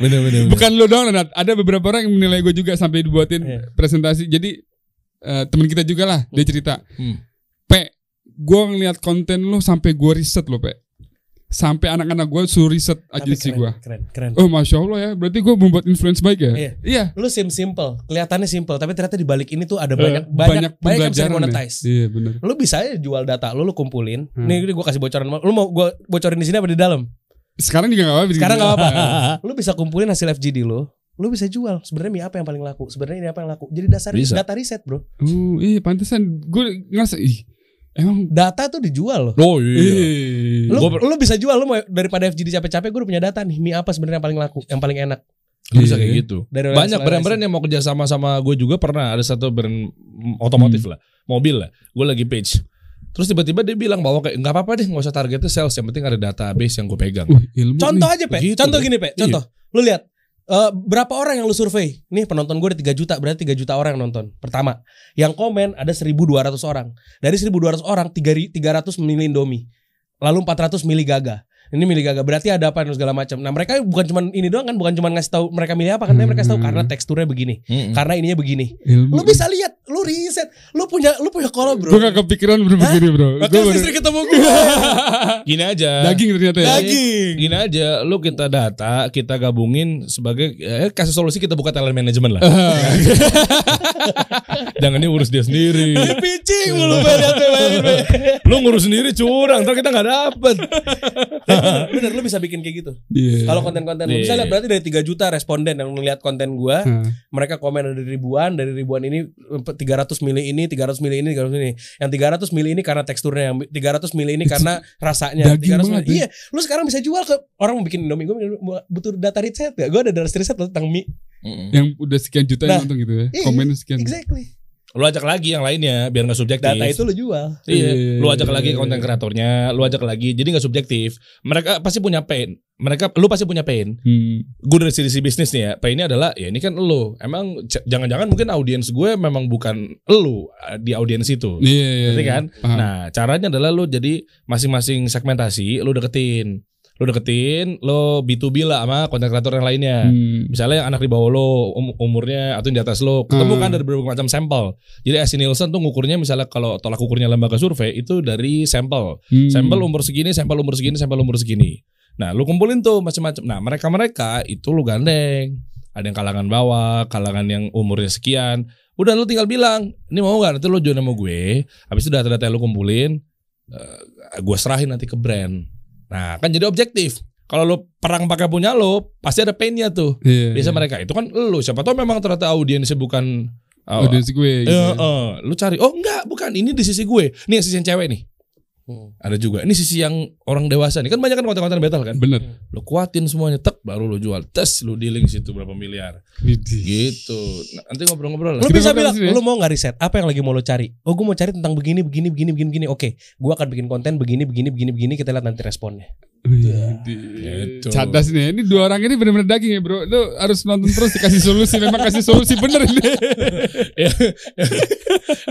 Bener bener. Bukan lo doang Nat, ada beberapa orang yang menilai gue juga sampai dibuatin Iya. presentasi. Jadi eh, temen kita juga lah, dia cerita. Hmm. Pe, gue ngeliat konten lo sampai gue riset lo pe. Sampai anak-anak gue suruh riset Tapi agensi keren, gue. Keren, keren. Oh masya Allah ya, berarti gue membuat influence baik ya. Iya. Iya. Lu sim simple, kelihatannya simple, tapi ternyata di balik ini tuh ada Eh, banyak banyak banyak, yang bisa pembelajaran ya. monetize. Iya benar. Lu bisa aja jual data lu, lu kumpulin. Hmm. Nih, gue kasih bocoran. Lu mau gue bocorin di sini apa di dalam? Sekarang juga gak apa-apa. Sekarang nggak apa-apa. Iya. Lu bisa kumpulin hasil FGD lu. Lu bisa jual. Sebenarnya mie apa yang paling laku? Sebenarnya ini apa yang laku? Jadi dasar Bisa. data riset, Bro. Oh, iya pantesan gue ngerasa ih emang Data tuh dijual loh. Oh iya. Ih. Lu, Gua- lu bisa jual lu mau daripada FGD capek-capek gue udah punya data nih mie apa sebenarnya yang paling laku yang paling enak Bisa Iya. kayak gitu. dari Banyak brand-brand yang mau kerja sama sama gue juga pernah ada satu brand otomotif lah, mobil lah. Gue lagi page. Terus tiba-tiba dia bilang bahwa kayak nggak apa-apa deh, nggak usah targetnya sales, yang penting ada database yang gue pegang. Wih, uh, ilmu Contoh Gitu, nih. aja, Pe. Begitu, contoh Pe. gini, Pe. Contoh. Lu lihat eh, berapa orang yang lu survei? Nih penonton gue ada 3 juta, berarti 3 juta orang yang nonton. Pertama, yang komen ada 1200 orang. Dari 1200 orang, 3 300 milih Indomie. Lalu 400 milih Gaga. Ini milih Gaga, berarti ada apa dan segala macam. Nah, mereka bukan cuman ini doang kan, bukan cuman ngasih tahu mereka milih apa kan, tapi mereka kasih tahu Hmm. karena teksturnya begini, Mm-mm. karena ininya begini. Ilmu. Lu bisa lihat, lu riset, lu punya lu punya kolom, Bro. Gue gak kepikiran bro begini bro. Gue Makanya lu baru- sering ketemu Nah, gue. Gini aja. daging ternyata ya. Daging. Gini aja, lu kita data, kita gabungin sebagai eh, kasih solusi kita buka talent management lah. Jangan dia urus dia sendiri. Picing mulu Pe, lihat, Pe, bayangin, Pe. Lu ngurus sendiri curang, ntar kita nggak dapet. Bener, bener, lu bisa bikin kayak gitu. Iya. Kalau konten-konten lu bisa Iya. lihat berarti dari 3 juta responden yang ngeliat konten gua, Hah. mereka komen dari ribuan, dari ribuan ini 300 milih ini, 300 milih ini, 300 milih ini. Yang 300 milih ini karena teksturnya, yang 300 milih ini karena rasanya. Daging 300 banget, milih- Iya, lu sekarang bisa jual ke orang mau bikin Indomie, gua butuh data riset gak? Gua ada data riset loh tentang mie. Yang udah sekian juta Nah, yang nonton gitu ya. iya, Komen sekian. Exactly. Lu ajak lagi yang lainnya biar nggak subjektif. Data itu lu jual. Iya, lu ajak Iya. lagi konten kreatornya, lu ajak lagi. Jadi nggak subjektif. Mereka pasti punya pain. Mereka lu pasti punya pain. Hmm. Gue dari sisi bisnis nih ya. Painnya adalah ya ini kan lu. Emang c- jangan-jangan mungkin audiens gue memang bukan lu eh, di audiens itu. Iya iya. Ngerti iya. kan? Paham. Nah, caranya adalah lu jadi masing-masing segmentasi lu deketin. Lu deketin, lu B2B lah sama konten kreator yang lainnya. Hmm. Misalnya yang anak di bawah lo um- umurnya atau yang di atas lo ketemu Hmm. kan dari berbagai macam sampel. Jadi S. Nielsen tuh ngukurnya misalnya kalau tolak ukurnya lembaga survei itu dari sampel. Hmm. Sampel um- umur segini, sampel umur segini, sampel umur segini. Nah, lu kumpulin tuh macam-macam. Nah, mereka-mereka itu lu gandeng. Ada yang kalangan bawah, kalangan yang umurnya sekian. Udah lu tinggal bilang, ini mau nggak nanti lu join sama gue. Habis itu data-data yang lu kumpulin, eh, gue serahin nanti ke brand. Nah, kan jadi objektif. Kalau lu perang pakai punya lo, pasti ada painnya tuh Iya. biasa Hmm. mereka itu kan lu siapa tahu memang ternyata audiensnya bukan uh, Audiens gue. eh, gitu. Iya. Hmm. eh, lu cari oh enggak bukan ini di sisi gue nih sisi yang cewek nih Hmm. ada juga ini sisi yang orang dewasa nih kan banyak kan konten-konten battle kan Bener. lu kuatin semuanya tek baru lu jual tes lu dealing situ berapa miliar gitu Nah, nanti ngobrol-ngobrol lah Lu Kita bisa ngobrol bilang, di sini ya. lu mau nggak riset? Apa yang lagi mau lu cari? Oh, gue mau cari tentang begini, begini, begini, begini, begini. Oke, gua akan bikin konten begini, begini, begini, begini. Kita lihat nanti responnya. Gitu. Cadas nih, ini dua orang ini bener-bener daging ya bro Lu harus nonton terus dikasih solusi Memang kasih solusi bener ini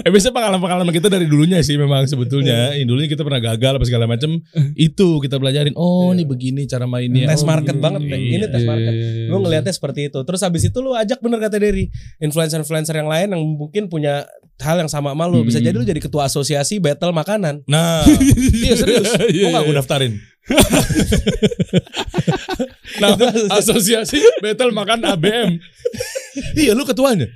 eh biasanya pengalaman-pengalaman kita dari dulunya sih memang sebetulnya Iya. Yang dulunya kita pernah gagal apa segala macem itu kita pelajarin oh nih begini cara mainnya Tes Oh, Iya. market gini. banget, Pe. Ini tes Iya, market. iya, iya, Gue iya. ngelihatnya seperti itu. Terus habis itu lu ajak bener kata Derry influencer-influencer yang lain yang mungkin punya hal yang sama sama lu. Bisa Hmm. jadi lu jadi ketua asosiasi battle makanan. Nah, iya serius. Mau Iya, nggak iya. gue daftarin? Nah, Itu asosiasi asosiasi. battle makan ABM. iya, lu ketuanya.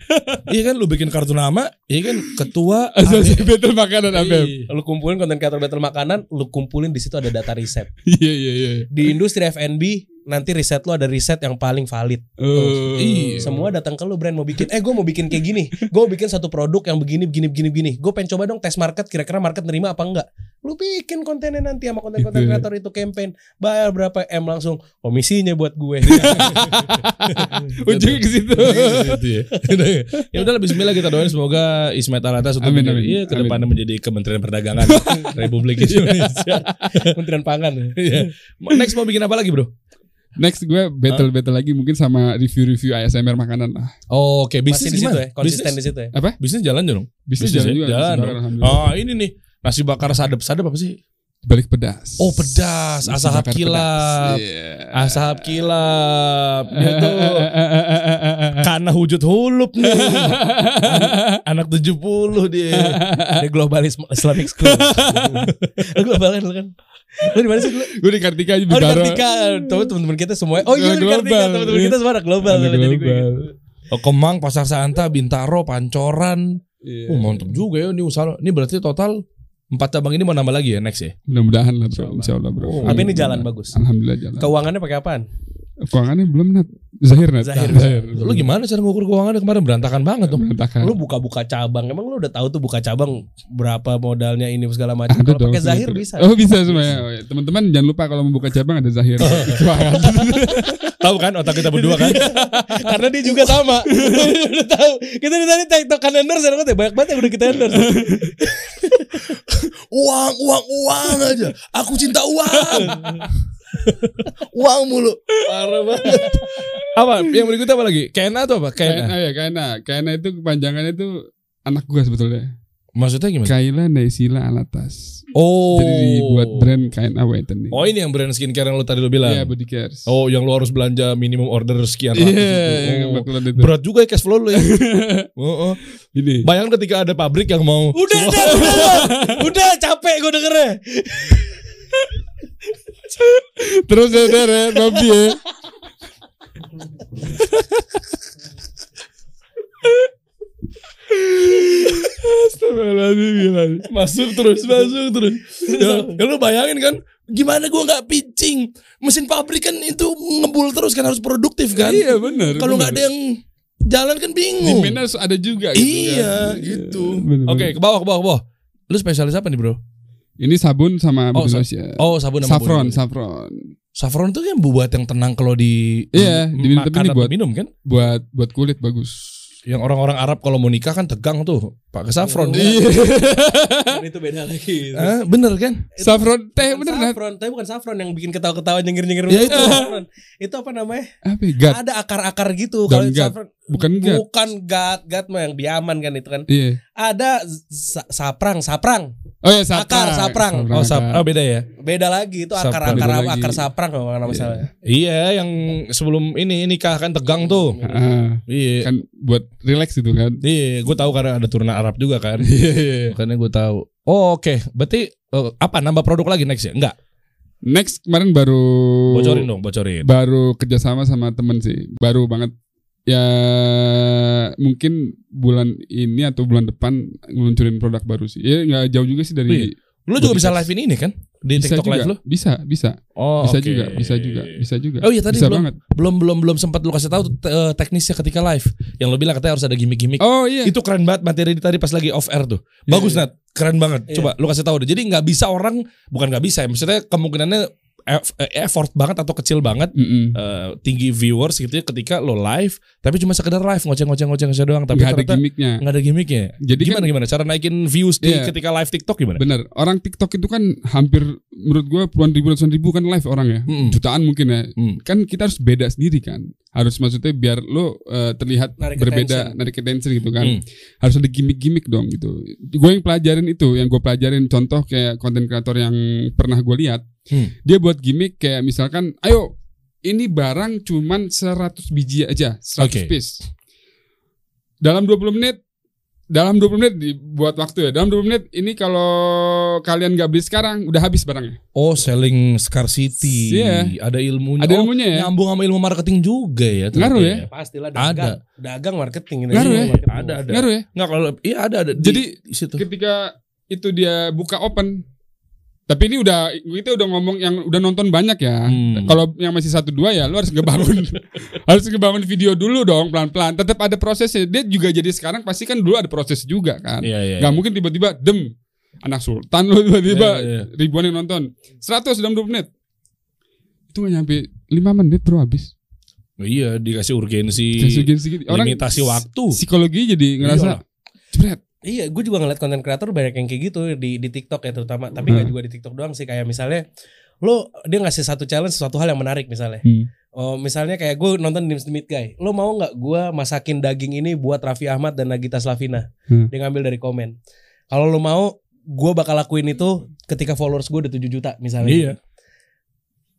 Iya kan lu bikin kartu nama, iya kan ketua Asosiasi Battle Makanan ABM. ABM. lu kumpulin konten kreator battle makanan, lu kumpulin di situ ada data riset. Iya iya iya. Di industri F&B nanti riset lu ada riset yang paling valid. Oh. Iya. Semua datang ke lu brand mau bikin, eh gue mau bikin kayak gini, gue mau bikin satu produk yang begini begini begini begini. Gue pengen coba dong tes market, kira-kira market nerima apa enggak. Lu bikin kontennya nanti sama konten-konten Gitu. kreator itu campaign, bayar berapa m langsung, komisinya buat gue. Ujungnya ke situ. gitu ya. ya udah lebih bismillah kita doain semoga Ismet Alatas untuk Amin, menjadi- amin. iya, ke depannya menjadi Kementerian Perdagangan Republik Indonesia. Kementerian Pangan. Iya. Next mau bikin apa lagi, Bro? Next gue battle battle lagi mungkin sama review-review ASMR makanan Ah, lah. Oke, Masih bisnis di situ gimana? ya, konsisten bisnis, di situ ya. bisnis jalan ya dong. Bisnis Bisnis jalan ya? juga. Jalan dong. bisnis Oh. jalan, alhamdulillah. Ah, ini nih. Nasi bakar sadap. Sadap apa sih? Balik pedas. Oh, pedas, Nasi asahap bakar kilap. pedas. Iya. Asahap kilap. Iya Dia tuh karena hujud hulup nih. Anak 70 dia. Ada globalis Islamic School. lu globalin lu kan. Lu di mana sih lu? Gue di Kartika aja di Oh di Baro. Kartika Tahu teman-teman kita semua Oh iya Ada di Kartika global. Teman-teman kita semua ada global Ada Jadi gue global. Oh, Kemang, Pasar Santa, Bintaro, Pancoran. Iya. Oh, mantap juga ya ini usaha. Ini berarti total empat cabang ini mau nambah lagi ya next ya. Mudah-mudahan lah bro. Insya Allah bro. Oh, Tapi ini jalan bagus Alhamdulillah jalan. Keuangannya pakai apaan? Keuangannya belum nat. Zahir nat. Zahir. Lu gimana cara ngukur keuangannya kemarin berantakan Kan banget dong. Berantakan. Lu buka-buka cabang Emang lu udah tahu tuh buka cabang Berapa modalnya ini segala macam Ada Kalau dong, pakai Zahir sebenarnya. bisa Oh bisa semuanya. Oh, ya. Teman-teman jangan lupa kalau membuka cabang ada Zahir. Keuangan. Tahu kan otak kita berdua kan? Karena dia juga sama Udah tahu Kita dari tadi tektokan endorse ada banget ya. Banyak banget yang udah kita endorse uang, uang, uang aja. Aku cinta uang. uang mulu. Parah banget. Apa yang berikutnya apa lagi? Kena atau apa? KNA Kena. ya KNA. KNA itu kepanjangannya itu anak gua sebetulnya. Maksudnya gimana? Kaila Naisila Alatas. Oh. Kan Jadi dibuat brand KNA Weten nih. Oh ini yang brand skincare yang lu tadi lu bilang. Iya, body cares. oh yang lu harus belanja minimum order sekian ratus Iya, itu. yang Oh. bakalan itu. Berat juga ya cash flow lu ya. Oh, oh. Ini. Bayang ketika ada pabrik yang mau Udah udah udah Udah capek gue dengernya Terus ya, Der, ya, Robby ya. Astagfirullahaladzim, gila. masuk terus masuk terus ya, ya lu bayangin kan gimana gua nggak pitching mesin pabrik kan itu ngebul terus kan harus produktif kan Iya benar. kalau nggak ada yang jalan kan bingung Dimana harus ada juga. gitu iya kan. gitu Bener, oke bener. ke bawah ke bawah ke bawah lu spesialis apa nih bro Ini sabun sama Oh, body sa- lotion. oh sabun sama body saffron, lotion. saffron. saffron tuh kan buat yang tenang kalau di Iya, m- diminum- makan tapi atau dibuat. minum kan Buat buat kulit bagus. yang orang-orang Arab kalau mau nikah kan tegang tuh pakai saffron kan? Iya. Itu beda lagi Ah, bener kan Saffron teh Bukan bener kan? Nat. saffron, tapi bukan saffron yang bikin ketawa-ketawa nyengir-nyengir. Ya, itu. Saffron. itu apa namanya? Apa ya? Gat. Ada akar-akar gitu Daun gat. saffron. Bukan gat. Bukan gat, gat mah yang diaman kan itu kan. Iya. Ada sa- saprang, saprang. Oh ya saprang. Akar, saprang. oh sap- akar. oh, beda ya Beda lagi itu Saprang. akar-akar Beda akar, lagi. saprang kalau nggak masalah. Iya, yang sebelum ini nikah kan tegang tuh. Ah, Iya, kan buat relax itu kan. iya, gue tahu karena ada turunan Arab juga kan. Iya, iya. Makanya gue tahu. Oh, oke. Berarti eh, apa nambah produk lagi next ya? Enggak. Next kemarin baru Bocorin dong, bocorin. baru kerjasama sama temen sih. Baru banget. Ya mungkin bulan ini atau bulan depan ngeluncurin produk baru sih. Ya nggak jauh juga sih dari Lu juga bisa Bisa. live ini kan di bisa TikTok juga. live lu? Bisa, bisa. Oh, bisa oke. juga, bisa juga, bisa juga. Oh iya, tadi bisa belum- banget. Belum belum belum sempat lu kasih tahu te- eh, teknisnya ketika live. Yang lu bilang katanya harus ada gimmick-gimmick. Oh iya. Itu keren banget materi tadi pas lagi off air tuh. Bagus Iya, Nat, keren banget. Iya. Coba lu kasih tahu deh. Jadi nggak bisa orang bukan nggak bisa ya. Maksudnya kemungkinannya eff- eh, effort banget atau kecil banget Mm-mm. eh, tinggi viewers gitu ya ketika lo live tapi cuma sekedar live ngoceng-ngoceng-ngoceng aja doang tapi Nggak ada ternyata gimmicknya. nggak ada gimmicknya. Jadi kan gimana gimana cara naikin views di Iya. ketika live TikTok gimana? Bener, orang TikTok itu kan hampir menurut gua puluhan ribu ratusan ribu kan live orang ya, Mm-mm. jutaan mungkin ya. Hmm. Kan kita harus beda sendiri kan, harus maksudnya biar lo eh, terlihat Narik berbeda, attention. narik attention gitu kan. Hmm. Harus ada gimmick-gimmick dong gitu. Gue yang pelajarin itu, yang gue pelajarin contoh kayak konten kreator yang pernah gue lihat, Hmm. dia buat gimmick kayak misalkan, ayo ini barang cuman 100 biji aja, 100 Oke. piece. Dalam 20 menit dalam 20 menit dibuat waktu ya. Dalam 20 menit ini kalau kalian nggak beli sekarang udah habis barangnya. Oh, selling scarcity. Iya. Ada ilmunya. Ada Oh, ilmunya ya. Nyambung sama ilmu marketing juga ya. ternyata Ngaruh ya. Pastilah Ada. dagang. Dagang marketing ini. Ngaruh ya? Marketing. Ada, ada. Ngaruh ya? Nggak kalau iya ada ada. di- Jadi- di situ. Ketika itu dia buka open. Tapi ini udah kita udah ngomong yang udah nonton banyak ya. Hmm. Kalau yang masih satu dua ya lu harus ngebangun harus ngebangun video dulu dong pelan-pelan. Tetap ada prosesnya. Dia juga jadi sekarang pasti kan dulu ada proses juga kan. Iya, iya. Gak mungkin tiba-tiba dem anak sultan lu tiba-tiba Iya, iya. ribuan yang nonton. 100 dalam 20 menit. Itu gak nyampe 5 menit bro habis. Iya, dikasih urgensi. Kayak segini- segini. limitasi waktu. Psikologi jadi ngerasa Iyalah. jebret. Iya, gue juga ngeliat konten kreator banyak yang kayak gitu di di TikTok ya terutama, tapi Hmm. nggak juga di TikTok doang sih kayak misalnya lo dia ngasih satu challenge sesuatu hal yang menarik misalnya. Hmm. Oh, misalnya kayak gue nonton Dims the Meat Guy. Lo mau nggak gue masakin daging ini buat Raffi Ahmad dan Nagita Slavina? Hmm. Dia ngambil dari komen. Kalau lo mau, gue bakal lakuin itu ketika followers gue udah 7 juta misalnya. Iya.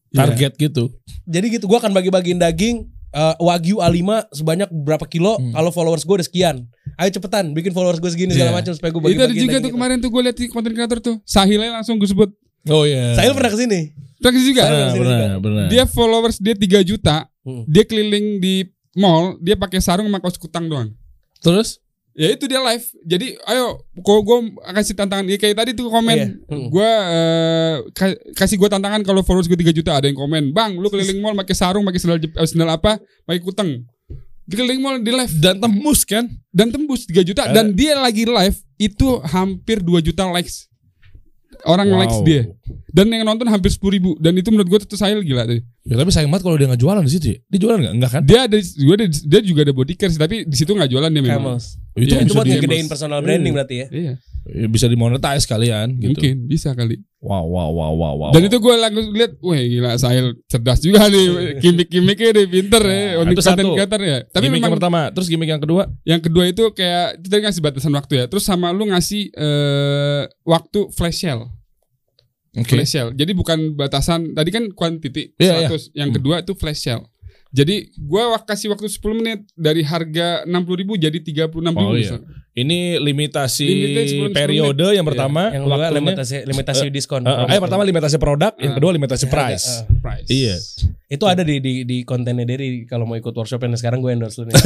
Target gitu. Jadi gitu, gue akan bagi-bagiin daging eh, Wagyu A5 sebanyak berapa kilo Hmm. kalau followers gue udah sekian. Ayo cepetan bikin followers gue segini segala Iya. macam supaya gue Itu ada bagi-bagiin juga daging tuh kemarin tuh gue liat di konten kreator tuh. Sahilnya langsung gue sebut. Oh iya. Sahil pernah kesini? Praktis juga. Sahil. Benar, benar, benar. Dia followers dia 3 juta. Hmm. Dia keliling di mall, dia pakai sarung sama kaos kutang doang. terus Ya itu dia live. Jadi ayo kok gue kasih tantangan Ya, kayak tadi tuh komen. Iya. Hmm. Gua eh, ka- kasih gua tantangan kalau followers gue 3 juta ada yang komen, "Bang, lu keliling mall pakai sarung, pakai sendal Jep- eh, sendal apa? Pakai kuteng." Di keliling mall di live dan tembus kan? dan tembus 3 Eh. juta dan dia lagi live itu hampir 2 juta likes. Orang Wow. likes dia. Dan yang nonton hampir 10 ribu dan itu menurut gue tuh sahil gila tuh. Ya, tapi sayang banget kalau dia nggak jualan di situ ya. Dia jualan nggak? Enggak kan? Dia ada gua ada- dia juga ada body care sih, tapi di situ nggak jualan dia memang. Camels. Itu Iya, kan Itu bisa, buat di, ngegedein personal branding berarti ya. Iya, ya, bisa dimonetize kalian gitu. Oh. mungkin bisa kali. Wow, wow, wow, wow, wow. Dan itu gue langsung lihat, wah gila Sahil cerdas juga nih, gimmick-gimmicknya nih pinter ya, untuk Iya. Nah, itu konten satu. creator ya. Tapi gimmick memang yang pertama, terus gimmick yang kedua. yang kedua itu kayak kita ngasih batasan waktu ya, terus sama lu ngasih eh, waktu flash sale, Oke. flash sale. Jadi bukan batasan, tadi kan kuantiti Iya, 100, yang Hmm. kedua itu flash sale. Jadi gue kasih waktu 10 menit dari harga 60.000 ribu jadi Oh, 36.000 iya. misalnya. Ini limitasi Limitnya sebelum- periode yang pertama, Iya, Yang kedua waktunya. limitasi limitasi diskon. Eh, eh, eh, pertama limitasi produk, yang Ah. kedua limitasi Harga, price. eh. Price. Iya. itu ada di di di kontennya Derry kalau mau ikut workshop yang sekarang gue endorse lu nih.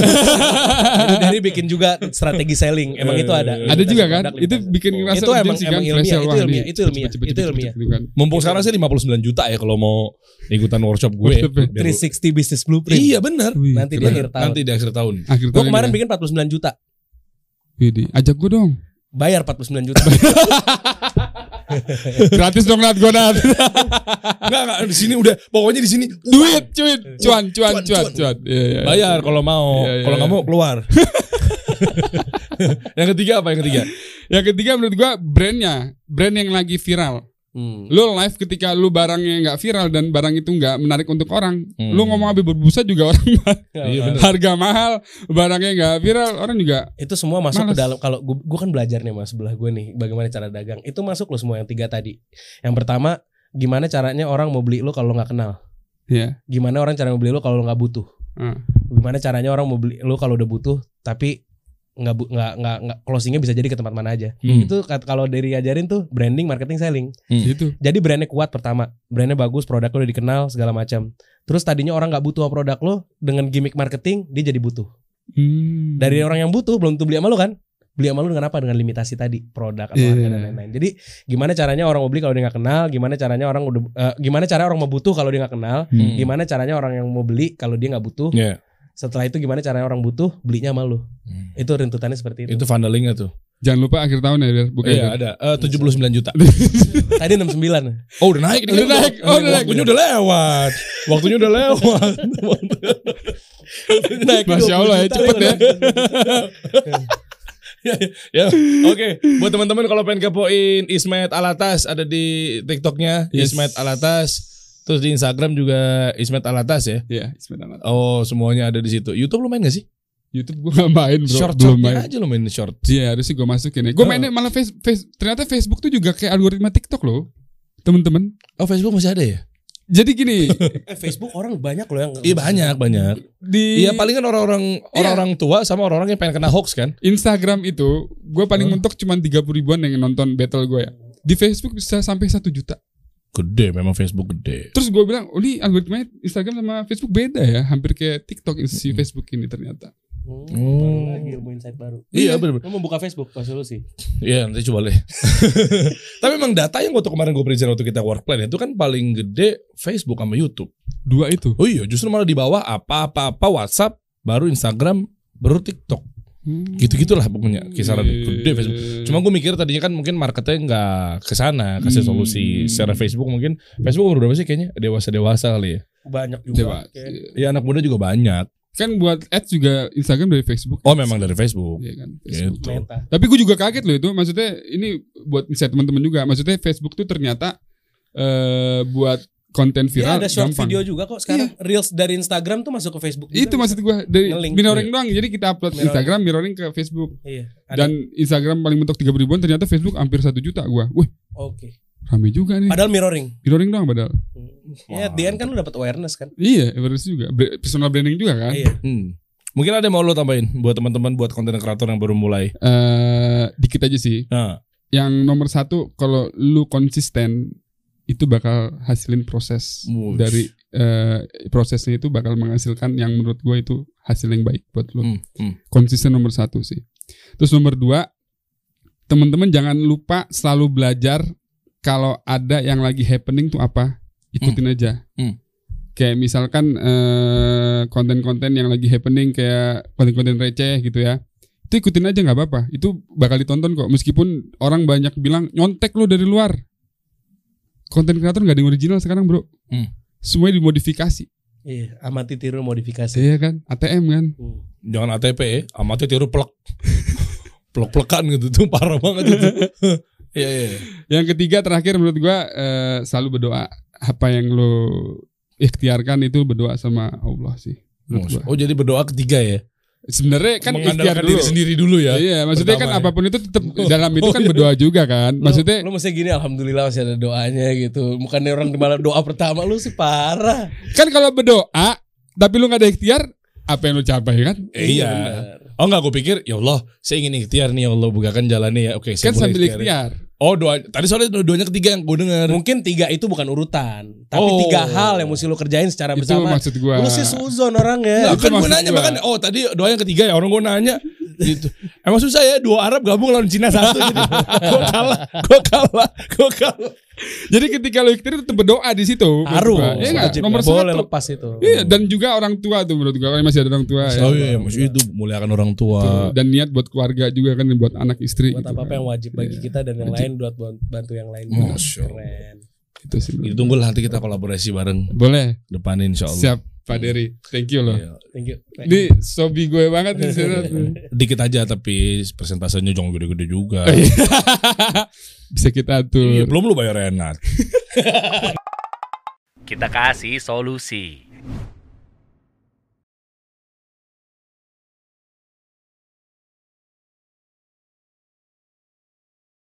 Jadi Derry bikin juga strategi selling. Iya, Emang itu ada. Ada juga kan? Limitasi produk, Itu limitasi- bikin ngerasa Itu emang- urgensi kan, emang flash ilmiah, sale, itu wah, ilmiah, nih, itu ilmiah, cepet-cepet, itu cepet-cepet ilmiah. gitu kan. Mumpung sekarang sih 59 juta ya kalau mau ikutan workshop gue. Workshop ya. Biar gue- 360 business blueprint. Iya benar. Wih, Nanti di keren. akhir tahun. Nanti di akhir tahun. akhir Gue tahun kemarin ini ya. bikin 49 juta. Widih, ajak gue dong. Bayar 49 juta. Gratis dong Nat, gue Nat. Enggak, enggak di sini udah pokoknya di sini Duit, cuit, cuan, cuan, Cuan, cuan, cuan. cuan. Iya, iya. bayar kalau mau. Iya, iya, kalau nggak iya. mau keluar. yang ketiga apa yang ketiga? Yang ketiga menurut gue brandnya, brand yang lagi viral. Hmm. Lu live ketika lu barangnya nggak viral dan barang itu nggak menarik untuk orang. Hmm. Lu ngomong habis berbusa juga orang Iya, bener. harga mahal, barangnya nggak viral, orang juga itu semua masuk Males. ke dalam kalau gue kan belajar nih mas sebelah gue nih bagaimana cara dagang itu masuk lo semua yang tiga tadi yang pertama gimana caranya orang mau beli lo kalau nggak kenal Iya. gimana orang cara mau beli lo kalau lo nggak butuh Ah. gimana caranya orang mau beli lo kalau udah butuh tapi nggak bu- nggak nggak nggak- closingnya bisa jadi ke tempat mana aja Hmm. itu kat- kalau dari ajarin tuh branding marketing selling gitu. jadi brandnya kuat pertama brandnya bagus produk lo udah dikenal segala macam terus tadinya orang nggak butuh sama produk lo dengan gimmick marketing dia jadi butuh Hmm. dari orang yang butuh belum tentu beli sama lo kan beli sama lo dengan apa dengan limitasi tadi produk atau harga Iya. dan lain-lain jadi gimana caranya orang mau beli kalau dia nggak kenal gimana caranya orang udah eh, gimana cara orang mau butuh kalau dia nggak kenal Hmm. gimana caranya orang yang mau beli kalau dia nggak butuh Iya. setelah itu gimana caranya orang butuh belinya sama lo Hmm. itu runtutannya seperti itu, Itu vandalingnya tuh. Jangan lupa akhir tahun ya, Der. bukan. Iya, Der. ada Eh, 79 juta. tadi 69 Oh, udah naik Udah naik. Oh, udah naik. Waktunya udah lewat. Waktunya udah lewat. naik Masya Allah ya, cepet ya. ya, oke. Buat teman-teman kalau pengen kepoin Ismet Alatas ada di TikToknya Yes. Ismet Alatas, terus di Instagram juga Ismet Alatas ya. Iya, sebenarnya. Oh, semuanya ada di situ. YouTube lu main gak sih? YouTube gue nggak main, bro. short Belum main. shortnya aja lu main short. Iya harusnya gue masukin ya. ya. Gue Oh. mainnya malah face, face- ternyata Facebook tuh juga kayak algoritma TikTok loh, temen-temen. Oh, Facebook masih ada ya? Jadi gini, Eh, Facebook orang banyak loh yang Iya banyak banyak. di Iya palingan orang-orang orang-orang tua sama orang-orang yang pengen kena hoax kan. Instagram itu gue paling mentok cuman 30 ribuan yang nonton battle gue ya. Di Facebook bisa sampai 1 juta. Gede memang Facebook gede. Terus gue bilang, oh ini algoritmanya Instagram sama Facebook beda ya. Hampir kayak TikTok Hmm. si Facebook ini ternyata. Oh, Oh. baru lagi ilmu insight baru. Iya bener Lo mau buka Facebook pas dulu sih. Iya nanti coba deh. Tapi memang data yang waktu kemarin gue present waktu kita work plan itu kan paling gede Facebook sama YouTube. Dua itu. Oh iya justru malah di bawah apa-apa-apa WhatsApp, baru Instagram, baru TikTok. Gitu-gitulah pokoknya Hmm. ya, kisaran gede Iya. Facebook. Cuma gue mikir tadinya kan mungkin marketnya nggak ke sana kasih Hmm. solusi secara Facebook mungkin Facebook umur berapa sih kayaknya dewasa dewasa kali ya. Banyak Coba. juga. Oke. Ya anak muda juga banyak. iya. Kan buat ads juga Instagram dari Facebook. Oh memang dari Facebook. Iya kan. Facebook. Gitu. Meta. Tapi gue juga kaget loh itu. Maksudnya ini buat misalnya teman-teman juga. Maksudnya Facebook tuh ternyata eh buat konten Ya, viral ada short gampang. Iya. video juga kok sekarang reels dari Instagram tuh masuk ke Facebook. juga. gitu. Itu maksud gue dari Nge-link. Iya. mirroring doang. Jadi kita upload Mirroring. Instagram mirroring ke Facebook. Iya. ada. Dan Instagram paling mentok 30 ribuan ternyata Facebook hampir 1 juta gua. Wih, Oke. rame juga nih. Padahal mirroring. Mirroring doang padahal. Ya, at the end kan lu dapat awareness kan. Iya, awareness juga. Bra- Personal branding juga kan. Iya. Hmm. Mungkin ada yang mau lo tambahin buat teman-teman buat konten kreator yang baru mulai. Eh, dikit aja sih. Nah, Yang nomor satu kalau lu konsisten itu bakal hasilin proses Wush. dari eh, prosesnya itu bakal menghasilkan yang menurut gua itu hasil yang baik buat lu. hmm, hmm. Konsisten nomor satu sih. Terus nomor dua, teman-teman jangan lupa selalu belajar kalau ada yang lagi happening tuh apa, ikutin aja. Hmm. Kayak misalkan eh, konten-konten yang lagi happening kayak konten-konten receh gitu ya. Itu ikutin aja nggak apa-apa. Itu bakal ditonton kok. Meskipun orang banyak bilang nyontek lu dari luar. Konten kreator nggak ada yang original sekarang bro. Hmm. Semuanya dimodifikasi. Iya, amati tiru modifikasi. Iya kan? ATM kan? Hmm. Jangan ATP ya, amatnya tiru plek. Plek-plekan gitu tuh parah banget itu. Iya, iya. iya. Yang ketiga terakhir menurut gua eh, selalu berdoa apa yang lo ikhtiarkan itu berdoa sama Allah sih. Menurut gua. Oh, jadi berdoa ketiga ya. Sebenarnya kan ikhtiar Mengandalkan dulu. diri sendiri dulu ya. Iya, maksudnya Pertama kan ya. apapun itu tetap dalam itu kan berdoa juga kan. Maksudnya lu, lu mesti gini alhamdulillah masih ada doanya gitu. Bukan orang di malam doa pertama lu sih parah. kan kalau berdoa tapi lu nggak ada ikhtiar, apa yang lu capai kan? Eh, iya. Oh enggak gue pikir ya Allah saya ingin ikhtiar nih ya Allah bukakan jalannya ya oke saya Kan mulai sambil ikhtiar ya. ikhtiar. Oh doa tadi soalnya doanya ketiga yang gue dengar. Mungkin tiga itu bukan urutan, tapi Oh. tiga hal yang mesti lu kerjain secara Itu bersama. maksud gua. Lu sih suzon orang Nah, ya. itu kan gue maksud nanya gua. bahkan oh tadi doa yang ketiga ya orang gue nanya gitu. Emang susah ya dua Arab gabung lawan Cina satu gitu. gue kalah, gue kalah, gue kalah. Jadi ketika lu ikhtiar tetap berdoa di situ. menurut Harus. gua. Iya nggak? Wajib, Nomor nggak boleh satu. lepas itu. Iya, dan juga orang tua tuh menurut gua masih ada orang tua ya. Oh iya, maksudnya itu muliakan orang tua. dan niat buat keluarga juga kan buat anak istri buat gitu apa-apa kan. yang wajib bagi kita dan yang lain buat bantu yang lain. Masya Allah. Keren. Itu sih menurut Itu tunggu Gitu. nanti kita kolaborasi bareng gua. boleh depan insya Allah. siap Pak Dery thank you loh Iya. Thank you. ini sobi gue banget di sini Dikit aja tapi persentasenya jangan gede-gede juga. bisa kita atur Iya, belum lu bayar enak. Kita kasih solusi.